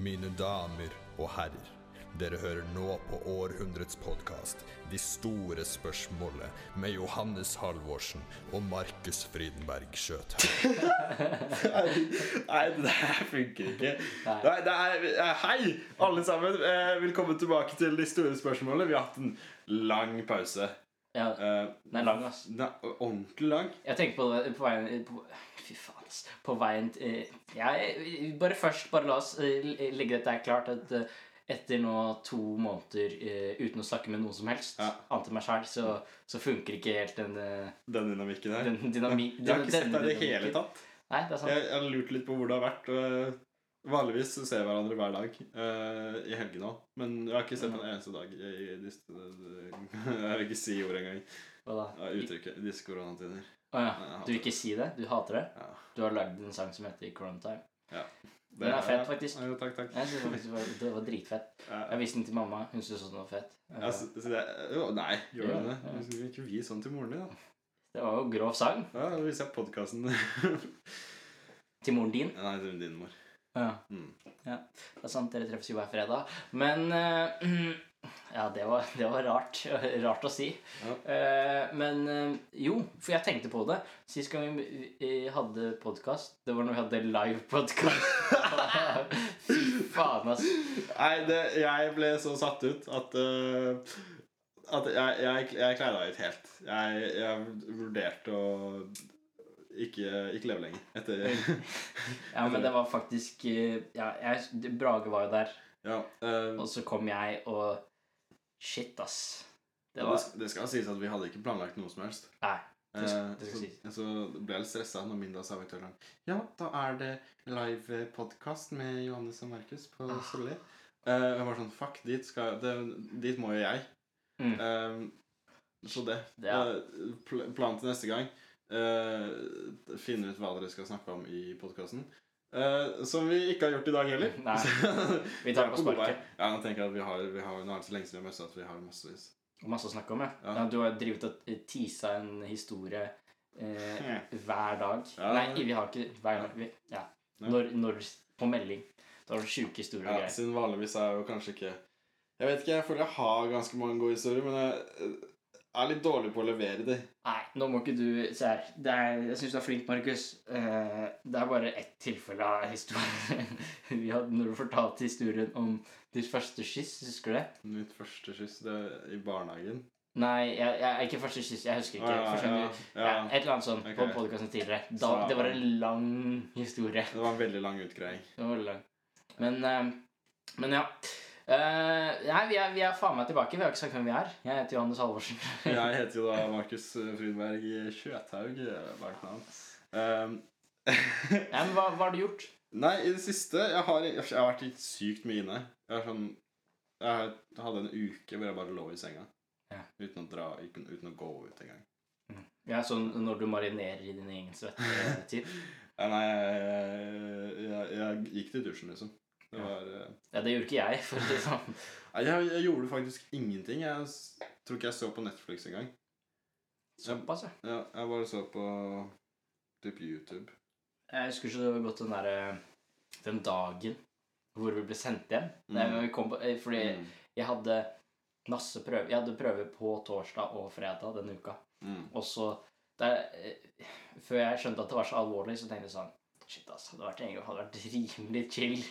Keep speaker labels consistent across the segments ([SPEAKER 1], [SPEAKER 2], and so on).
[SPEAKER 1] Mine damer og herrer, dere hører nå på århundrets podkast De store spørsmålet med Johannes Halvorsen og Markus Frydenberg Skjøthaug.
[SPEAKER 2] Nei, det her funker ikke. Nei. det er, eh, hei, alle sammen. Eh, Velkommen tilbake til de store spørsmålene. Vi har hatt en lang pause.
[SPEAKER 3] Ja,
[SPEAKER 2] Eh,
[SPEAKER 3] den er lang, ass.
[SPEAKER 2] Den er ordentlig lang.
[SPEAKER 3] Jeg tenker på det på veien på, Fy faen, ass. På veien til ja, eh, Bare først, bare la oss eh, legge dette her klart at eh, etter nå to måneder eh, uten å snakke med noen som helst,
[SPEAKER 2] Ja.
[SPEAKER 3] annet enn meg sjøl, så, så funker ikke helt den, eh,
[SPEAKER 2] Den dynamikken her.
[SPEAKER 3] den dynami-
[SPEAKER 2] Jeg har
[SPEAKER 3] den-
[SPEAKER 2] ikke sett
[SPEAKER 3] denne
[SPEAKER 2] deg i det hele
[SPEAKER 3] dynamikken.
[SPEAKER 2] tatt.
[SPEAKER 3] Nei, det er sant.
[SPEAKER 2] Jeg, jeg har lurt litt på hvor det har vært. og, eh, Vanligvis så ser vi hverandre hver dag eh, i helgene òg. Men jeg har ikke sett en eneste dag i, i disse Jeg vil ikke si ordet engang.
[SPEAKER 3] Hva da?
[SPEAKER 2] Ja, Uttrykket. i Disse koronatider.
[SPEAKER 3] Å ja.
[SPEAKER 2] Jeg hater
[SPEAKER 3] Du vil ikke si det? Du hater det?
[SPEAKER 2] Ja.
[SPEAKER 3] Du har lagd en sang som heter Coronatime.
[SPEAKER 2] Ja.
[SPEAKER 3] Den er fet, faktisk.
[SPEAKER 2] Ja, takk, takk.
[SPEAKER 3] Jeg synes det var- det var, det var dritfett.
[SPEAKER 2] Ja.
[SPEAKER 3] Jeg viste den til mamma. Hun syntes også den var fet.
[SPEAKER 2] Ja, så, så det, jo, nei, gjør
[SPEAKER 3] Ja,
[SPEAKER 2] du det?
[SPEAKER 3] ja.
[SPEAKER 2] Du skal ikke vi sånn til moren din, da?
[SPEAKER 3] Det var jo grov sang
[SPEAKER 2] Ja, Da viser jeg podkasten Nei,
[SPEAKER 3] til moren din.
[SPEAKER 2] til din mor.
[SPEAKER 3] Ja.
[SPEAKER 2] Mm.
[SPEAKER 3] ja. Det er sant, dere treffes jo hver fredag. Men eh, Ja, det var, det var rart. Rart å si.
[SPEAKER 2] Ja.
[SPEAKER 3] Eh, men eh, jo, for jeg tenkte på det. Sist gang vi eh, hadde podkast, det var når vi hadde live podkast. Fy faen, ass.
[SPEAKER 2] Nei, det, jeg ble så satt ut at eh, At jeg, jeg, jeg kleina ut helt. Jeg, jeg vurderte å ikke, ikke leve lenger etter
[SPEAKER 3] Ja, men det var faktisk eh, ja, jeg, Brage var jo der,
[SPEAKER 2] Ja. eh,
[SPEAKER 3] og så kom jeg, og Shit, ass. Det
[SPEAKER 2] det,
[SPEAKER 3] var
[SPEAKER 2] sk- det skal sies at vi hadde ikke planlagt noe som helst.
[SPEAKER 3] Nei. Det skal-
[SPEAKER 2] Eh,
[SPEAKER 3] det skal
[SPEAKER 2] så,
[SPEAKER 3] sies.
[SPEAKER 2] så ble jeg litt stressa når Minda sa vektøren Ja, da er det live podkast med Johannes og Markus på
[SPEAKER 3] Ah.
[SPEAKER 2] Solli. Eh, jeg var sånn Fuck, dit, skal, det, dit må jo jeg.
[SPEAKER 3] Mm.
[SPEAKER 2] Eh, så det.
[SPEAKER 3] Ja.
[SPEAKER 2] Eh, pl planen til neste gang eh, Finne ut hva dere skal snakke om i podkasten. som vi ikke har gjort i dag heller.
[SPEAKER 3] Nei.
[SPEAKER 2] Så-
[SPEAKER 3] Vi tar det
[SPEAKER 2] er
[SPEAKER 3] på
[SPEAKER 2] god vei.
[SPEAKER 3] sparket.
[SPEAKER 2] Ja, nå tenker jeg at vi har, vi har, Nå er det så lenge siden vi har møttes at vi har massevis.
[SPEAKER 3] Masse å snakke om, ja.
[SPEAKER 2] Ja.
[SPEAKER 3] ja. Du har drevet og tisa en historie eh,
[SPEAKER 2] Ja.
[SPEAKER 3] hver dag.
[SPEAKER 2] Ja.
[SPEAKER 3] Nei, vi har ikke hver dag. Vi, ja.
[SPEAKER 2] Ja.
[SPEAKER 3] Når, når, på melding. Da har du sjuke historier og
[SPEAKER 2] Ja,
[SPEAKER 3] greier.
[SPEAKER 2] siden vanligvis er jeg jo kanskje ikke Jeg vet ikke, jeg føler jeg har ganske mange gode historier, men jeg eh, er litt dårlig på å levere de.
[SPEAKER 3] Nei, nå må ikke du Se her. Det er, jeg syns du er flink, Markus. Eh, det er bare ett tilfelle av historie. vi hadde, når du fortalte historien om ditt første kyss, husker du det?
[SPEAKER 2] Mitt første kyss det er i barnehagen.
[SPEAKER 3] Nei, jeg, jeg, ikke første kyss. Jeg husker ikke.
[SPEAKER 2] Å, ja,
[SPEAKER 3] Første gang
[SPEAKER 2] ja,
[SPEAKER 3] du-
[SPEAKER 2] ja.
[SPEAKER 3] Ja, et eller annet sånt på
[SPEAKER 2] Ok.
[SPEAKER 3] podkasten tidligere. Da,
[SPEAKER 2] Så-
[SPEAKER 3] det var en lang historie.
[SPEAKER 2] Det var en veldig lang utgreiing.
[SPEAKER 3] Det var veldig lang. Men, eh, men ja. Eh, nei, vi er, vi er faen meg tilbake. Vi har ikke sagt hvem vi er. Jeg heter Johannes Halvorsen.
[SPEAKER 2] Jeg heter jo da Markus eh, Frydberg Kjøthaug. eh, Langt navn. Ehm,
[SPEAKER 3] Nei, men hva, hva har du gjort?
[SPEAKER 2] nei, i det siste jeg har, jeg har vært litt sykt mye inne. Jeg, er sånn, jeg hadde en uke hvor jeg bare lå i senga.
[SPEAKER 3] Ja.
[SPEAKER 2] Uten å dra, uten, uten å gå ut engang.
[SPEAKER 3] Ja, sånn når du marinerer i din egen svette typ.
[SPEAKER 2] Ja, nei, jeg, jeg, jeg gikk til dusjen, liksom. Det
[SPEAKER 3] Ja.
[SPEAKER 2] var eh,
[SPEAKER 3] Ja, det gjorde ikke jeg. For å si det sånn.
[SPEAKER 2] Nei, jeg, jeg gjorde faktisk ingenting. Jeg s- tror ikke jeg så på Netflix engang.
[SPEAKER 3] Såpass, ja.
[SPEAKER 2] Jeg, jeg bare så på typ YouTube.
[SPEAKER 3] Jeg husker så godt den derre Den dagen hvor vi ble sendt hjem. Nei,
[SPEAKER 2] Mm.
[SPEAKER 3] men vi kom på, eh, fordi
[SPEAKER 2] Mm.
[SPEAKER 3] jeg hadde masse prøve. Jeg hadde prøve på torsdag og fredag denne uka.
[SPEAKER 2] Mm.
[SPEAKER 3] Og så der, eh, Før jeg skjønte at det var så alvorlig, så tenkte jeg sånn Shit, ass. Det hadde vært, egentlig- hadde vært rimelig chill.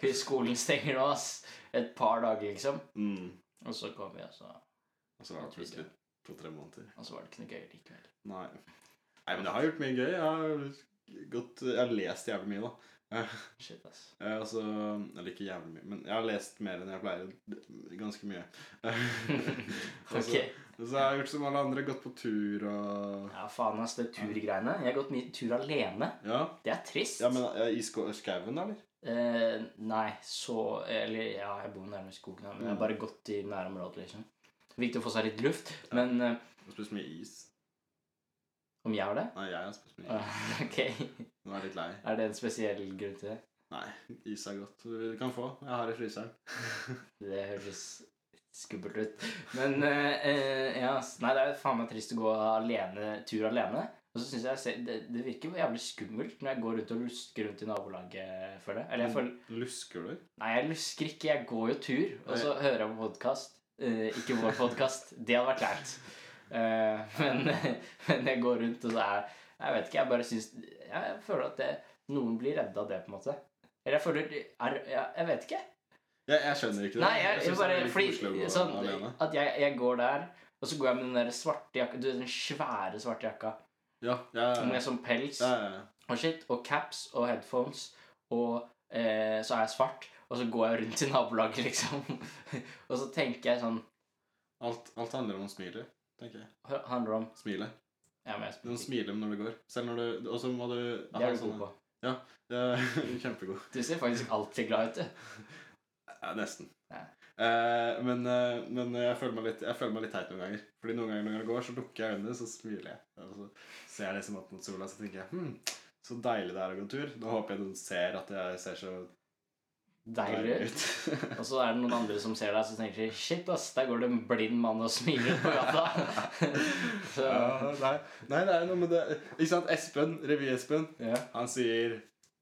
[SPEAKER 3] Hvis skolen stenger nå, ass. Et par dager, liksom.
[SPEAKER 2] Mm.
[SPEAKER 3] Og så kom vi, og så,
[SPEAKER 2] Og så var det plutselig to-tre måneder.
[SPEAKER 3] og så var det ikke noe gøy likevel.
[SPEAKER 2] Nei. Nei, men jeg har gjort mye gøy. Jeg har, gått, jeg har lest jævlig mye, da.
[SPEAKER 3] Shit, ass.
[SPEAKER 2] Jeg har også, eller ikke jævlig mye, men jeg har lest mer enn jeg pleier. Ganske mye. Og så-
[SPEAKER 3] Ok.
[SPEAKER 2] Så jeg har gjort som alle andre, gått på tur og
[SPEAKER 3] Ja, faen, ass. Det turgreiene. Jeg har gått mye tur alene.
[SPEAKER 2] Ja,
[SPEAKER 3] Det er trist.
[SPEAKER 2] ja men eh, i sko- skauen, da, eller?
[SPEAKER 3] eh, nei, så Eller ja, jeg bor nærmere skogen, men jeg har bare gått i nærområdet, liksom. Viktig å få seg litt luft. Men eh,
[SPEAKER 2] Jeg har spist mye is.
[SPEAKER 3] om jeg har det?
[SPEAKER 2] Nei, jeg har spist mye is.
[SPEAKER 3] Eh, ok.
[SPEAKER 2] Nå er jeg litt lei.
[SPEAKER 3] Er det en spesiell grunn til det?
[SPEAKER 2] Nei, is er godt. Du kan få. Jeg har i fryseren.
[SPEAKER 3] Det høres skummelt ut. Men eh, eh, ja, s- nei, det er faen meg trist å gå alene, tur alene. Og Og så synes jeg se- det, det virker jævlig skummelt når jeg går rundt og lusker rundt i nabolaget, føler jeg. Eller jeg føler
[SPEAKER 2] Lusker du?
[SPEAKER 3] Nei, jeg lusker ikke. Jeg går jo tur, og så hører jeg på podkast. ikke vår podkast. Det hadde vært lært. Eh, men, men jeg går rundt, og så er Jeg vet ikke, jeg bare syns Jeg føler at det, noen blir redde av det, på en måte. Eller jeg føler er, jeg, jeg vet ikke.
[SPEAKER 2] Jeg, jeg skjønner ikke det.
[SPEAKER 3] Nei, jeg, jeg
[SPEAKER 2] synes
[SPEAKER 3] bare
[SPEAKER 2] det er litt koselig å
[SPEAKER 3] fordi
[SPEAKER 2] gå
[SPEAKER 3] sånn,
[SPEAKER 2] alene.
[SPEAKER 3] At jeg, jeg går der, og så går jeg med den der svarte jakka Du vet den svære svarte jakka
[SPEAKER 2] Ja, ja, ja.
[SPEAKER 3] med sånn pels
[SPEAKER 2] ja, ja, ja.
[SPEAKER 3] og shit, og caps og headphones, og eh, så er jeg svart, og så går jeg rundt i nabolaget, liksom. og så tenker jeg sånn
[SPEAKER 2] Alt, alt handler om smilet, tenker jeg.
[SPEAKER 3] hva Handler det om
[SPEAKER 2] Smilet.
[SPEAKER 3] Ja, men jeg
[SPEAKER 2] Du må
[SPEAKER 3] spiller ikke.
[SPEAKER 2] smile når du går. Selv når du Og så må du
[SPEAKER 3] Det er du god på.
[SPEAKER 2] Ja, kjempegod.
[SPEAKER 3] Du ser faktisk alltid glad ut, du.
[SPEAKER 2] Ja, nesten.
[SPEAKER 3] Ja.
[SPEAKER 2] Eh, men eh, men jeg, føler meg litt, jeg føler meg litt teit noen ganger. Fordi noen ganger når jeg går, så lukker jeg øynene, så smiler jeg. Og så ser jeg liksom opp mot sola, så tenker jeg hm, så deilig det er å gå tur. Nå håper jeg noen ser at jeg ser så
[SPEAKER 3] Deilig ut.
[SPEAKER 2] ut.
[SPEAKER 3] Og så er det noen andre som ser deg, så tenker de Shit, ass, der går det en blind mann og smiler på gata. så
[SPEAKER 2] ja, nei, nei, det er noe med det Ikke sant? Espen, Revy-Espen,
[SPEAKER 3] ja.
[SPEAKER 2] han sier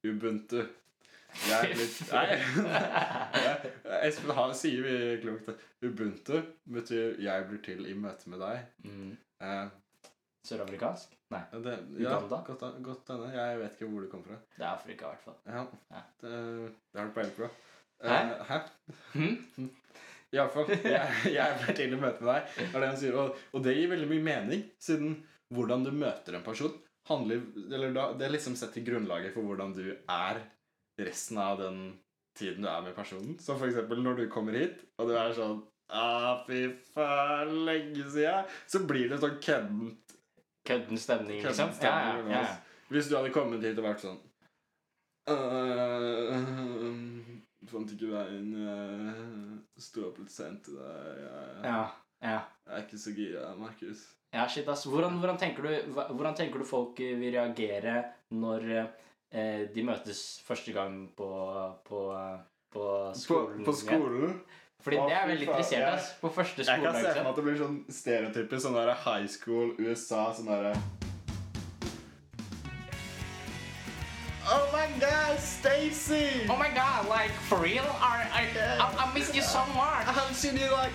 [SPEAKER 2] Ubuntu. Jeg er litt Nei. Jeg- Espen han sier mye klokt. Ubuntu betyr 'jeg blir til i møte med deg'.
[SPEAKER 3] Mm.
[SPEAKER 2] Eh,
[SPEAKER 3] Sørafrikansk? Nei,
[SPEAKER 2] det, ja,
[SPEAKER 3] Uganda?
[SPEAKER 2] godt, godt denne. Jeg vet ikke hvor det kom fra.
[SPEAKER 3] det er Afrika i hvert fall.
[SPEAKER 2] Ja,
[SPEAKER 3] Ja.
[SPEAKER 2] det, det har du peiling på.
[SPEAKER 3] Hæ?
[SPEAKER 2] Eh, Hæ?
[SPEAKER 3] Hm?
[SPEAKER 2] Iallfall. Jeg, jeg blir til i møte med deg. Det er det han sier. Og, og det gir veldig mye mening, siden hvordan du møter en person, handler, eller da, det liksom setter grunnlaget for hvordan du er resten av den tiden du er med personen. Så for eksempel når du kommer hit, og du er sånn Ah, fy faen, lenge siden! Så blir det sånn kødden
[SPEAKER 3] Kødden stemning,
[SPEAKER 2] Kødden
[SPEAKER 3] liksom? Ja,
[SPEAKER 2] stemning,
[SPEAKER 3] ja, ja.
[SPEAKER 2] altså. Hvis du hadde kommet hit og vært sånn «Øh, Fant ikke veien øh, Sto opp litt sent i dag jeg,
[SPEAKER 3] ja. ja.
[SPEAKER 2] jeg er ikke så gira, Markus.
[SPEAKER 3] Ja, shit, ass. Hvordan, hvordan, tenker du, hva- hvordan tenker du folk eh, vil reagere når eh, de møtes første gang på, på, på
[SPEAKER 2] På,
[SPEAKER 3] skolen?
[SPEAKER 2] på skolen?
[SPEAKER 3] Fordi
[SPEAKER 2] Å,
[SPEAKER 3] det er
[SPEAKER 2] fy
[SPEAKER 3] veldig
[SPEAKER 2] faen,
[SPEAKER 3] interessert,
[SPEAKER 2] jeg-
[SPEAKER 3] ass. På første
[SPEAKER 2] Jeg kan
[SPEAKER 3] skoledag.
[SPEAKER 2] se for meg
[SPEAKER 3] liksom.
[SPEAKER 2] at det blir sånn stereotypisk sånn der high school USA, sånn derre Oh my God, Stacy!
[SPEAKER 3] Oh my god, like, for real? I, I, I, I miss you so much!
[SPEAKER 2] I haven't seen you like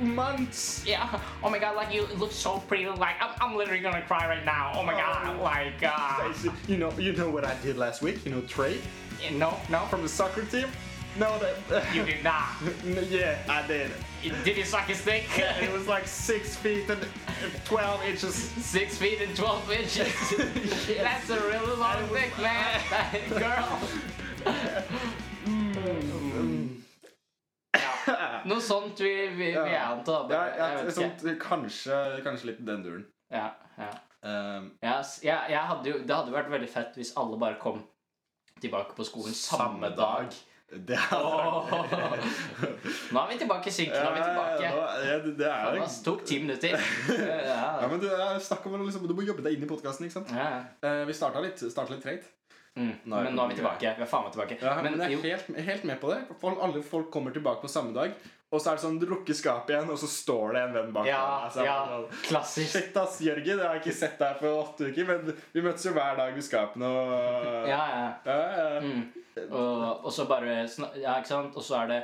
[SPEAKER 2] months.
[SPEAKER 3] Yeah, oh my god, like, you look so pretty, like, I'm, I'm literally gonna cry right now. Oh my god, like, uh,
[SPEAKER 2] Stacy, you know, you know what I did last week? You know, trade
[SPEAKER 3] no, no,
[SPEAKER 2] from the soccer team? No, that.
[SPEAKER 3] you did not.
[SPEAKER 2] yeah, I did.
[SPEAKER 3] Did you suck his dick?
[SPEAKER 2] It was like six feet and twelve inches.
[SPEAKER 3] Six feet and 12 inches. That's a really long dick, man. Girl. Ja. Noe sånt vi, vi, vi
[SPEAKER 2] Ja.
[SPEAKER 3] anta.
[SPEAKER 2] Ja,
[SPEAKER 3] bare-
[SPEAKER 2] ja,
[SPEAKER 3] Jeg vet
[SPEAKER 2] sånn,
[SPEAKER 3] ikke.
[SPEAKER 2] kanskje, kanskje litt den duren.
[SPEAKER 3] Ja, ja.
[SPEAKER 2] Ehm,
[SPEAKER 3] Ja, s- jeg, jeg hadde jo, det hadde vært veldig fett hvis alle bare kom tilbake på skolen samme, dag.
[SPEAKER 2] Det er
[SPEAKER 3] Åh. Nå er vi tilbake i synk. Nå er vi tilbake.
[SPEAKER 2] Ja, ja, det, det er
[SPEAKER 3] Faen, ass, tok ti minutter.
[SPEAKER 2] ja,
[SPEAKER 3] Ja,
[SPEAKER 2] men det er snakk om å liksom, Du må jobbe deg inn i podkasten, ikke sant?
[SPEAKER 3] ja.
[SPEAKER 2] Eh, vi starta litt, startet litt tregt.
[SPEAKER 3] Mm. Men nå er vi tilbake. Vi er faen meg tilbake.
[SPEAKER 2] Ja, men,
[SPEAKER 3] Men
[SPEAKER 2] jeg
[SPEAKER 3] jo,
[SPEAKER 2] er helt, helt med på det. Folk, alle folk kommer tilbake på samme dag, og så er det sånn du lukker skapet igjen, og så står det en venn bak
[SPEAKER 3] ja,
[SPEAKER 2] deg. Altså,
[SPEAKER 3] ja.
[SPEAKER 2] sånn,
[SPEAKER 3] Klassisk.
[SPEAKER 2] Shit, ass, Jørgen. Jeg har ikke sett deg på åtte uker, men vi møtes jo hver dag ved skapene og
[SPEAKER 3] Ja, ja.
[SPEAKER 2] Ja, ja.
[SPEAKER 3] Mm. Og, og så bare sna- Ja, ikke sant? Og så er det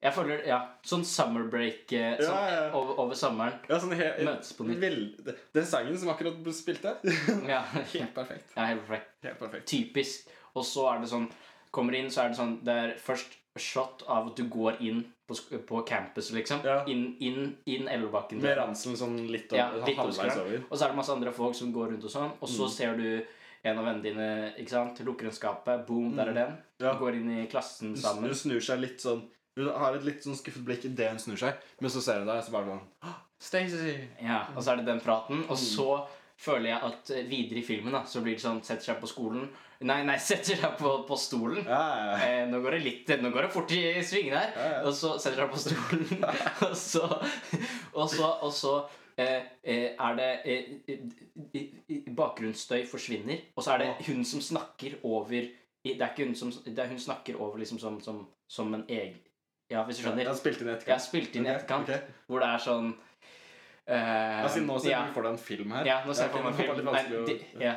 [SPEAKER 3] Jeg føler Ja, sånn summer break eh, sånn,
[SPEAKER 2] Ja, ja.
[SPEAKER 3] Over, over sommeren.
[SPEAKER 2] Ja, sånn he-
[SPEAKER 3] Møtes på nytt.
[SPEAKER 2] Vel, den sangen som akkurat ble spilt der
[SPEAKER 3] Ja,
[SPEAKER 2] Helt perfekt.
[SPEAKER 3] ja helt perfekt.
[SPEAKER 2] Helt perfekt.
[SPEAKER 3] Typisk. Og så er det sånn Kommer inn, så er det sånn Det er først shot av at du går inn på, sk- på campus, liksom.
[SPEAKER 2] Ja.
[SPEAKER 3] Inn, inn, inn Elvebakken.
[SPEAKER 2] Med ranselen sånn litt
[SPEAKER 3] Ja,
[SPEAKER 2] over,
[SPEAKER 3] litt
[SPEAKER 2] halvveis
[SPEAKER 3] oskeren.
[SPEAKER 2] over.
[SPEAKER 3] Og så er det masse andre folk som går rundt og sånn, og
[SPEAKER 2] Mm.
[SPEAKER 3] så ser du en av vennene dine ikke sant, lukker en skapet, boom, der er den.
[SPEAKER 2] Mm. Ja.
[SPEAKER 3] Går inn i klassen sammen.
[SPEAKER 2] Hun snur seg litt sånn Hun har et litt sånn skuffet blikk idet hun snur seg, men så ser hun deg, og så bare sånn «Åh, Stacy!
[SPEAKER 3] Ja, og så er det den praten. Og
[SPEAKER 2] Mm.
[SPEAKER 3] så føler jeg at eh, videre i filmen da, så blir det sånn Setter seg på skolen Nei, nei, setter seg på, på stolen.
[SPEAKER 2] Ja, ja,
[SPEAKER 3] Eh, nå går det litt Nå går det fort i svingene her.
[SPEAKER 2] Ja, ja.
[SPEAKER 3] Og så setter seg på stolen, og så Og så, og så eh, eh, er det eh, eh, eh, Bakgrunnsstøy forsvinner, og så er det hun som snakker over i- Det er ikke hun som Det er hun snakker over liksom som, som, som en egen Ja, hvis du
[SPEAKER 2] ja.
[SPEAKER 3] skjønner?
[SPEAKER 2] Jeg spilte inn
[SPEAKER 3] Jeg
[SPEAKER 2] etterkant.
[SPEAKER 3] har spilt inn i
[SPEAKER 2] Ok,
[SPEAKER 3] etterkant,
[SPEAKER 2] ok.
[SPEAKER 3] hvor det er sånn eh,
[SPEAKER 2] Ja, siden nå ser
[SPEAKER 3] ja.
[SPEAKER 2] vi for deg en film her.
[SPEAKER 3] Ja, nå ser jeg
[SPEAKER 2] ok,
[SPEAKER 3] for meg
[SPEAKER 2] det var litt
[SPEAKER 3] filmen.
[SPEAKER 2] vanskelig å-
[SPEAKER 3] Nei, det- ja.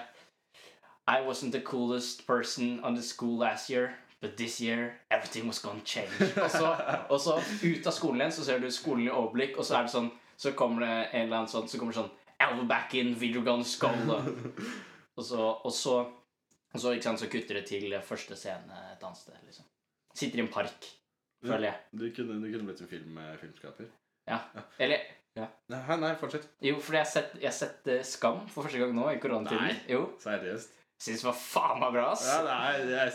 [SPEAKER 3] I wasn't the coolest person on the school last year, but this year everything was gonna change. Og så, og så ut av skolen igjen, så ser du skolen i overblikk, og så er det sånn Så kommer det en eller annen sånn Så kommer det sånn Elvebacken, videregående skole. Og så, og så, og så, ikke sant, så kutter det til første scene et annet sted, liksom. Sitter i en park, føler jeg.
[SPEAKER 2] Du kunne, du kunne blitt en film, filmskaper.
[SPEAKER 3] Eller
[SPEAKER 2] Nei, nei, fortsett.
[SPEAKER 3] Jo, fordi jeg har sett, jeg har sett eh, Skam for første gang nå i koronatiden.
[SPEAKER 2] Nei.
[SPEAKER 3] Jo.
[SPEAKER 2] Seriøst.
[SPEAKER 3] Syns det var faen meg bra, ass.
[SPEAKER 2] Ja, det er, det er,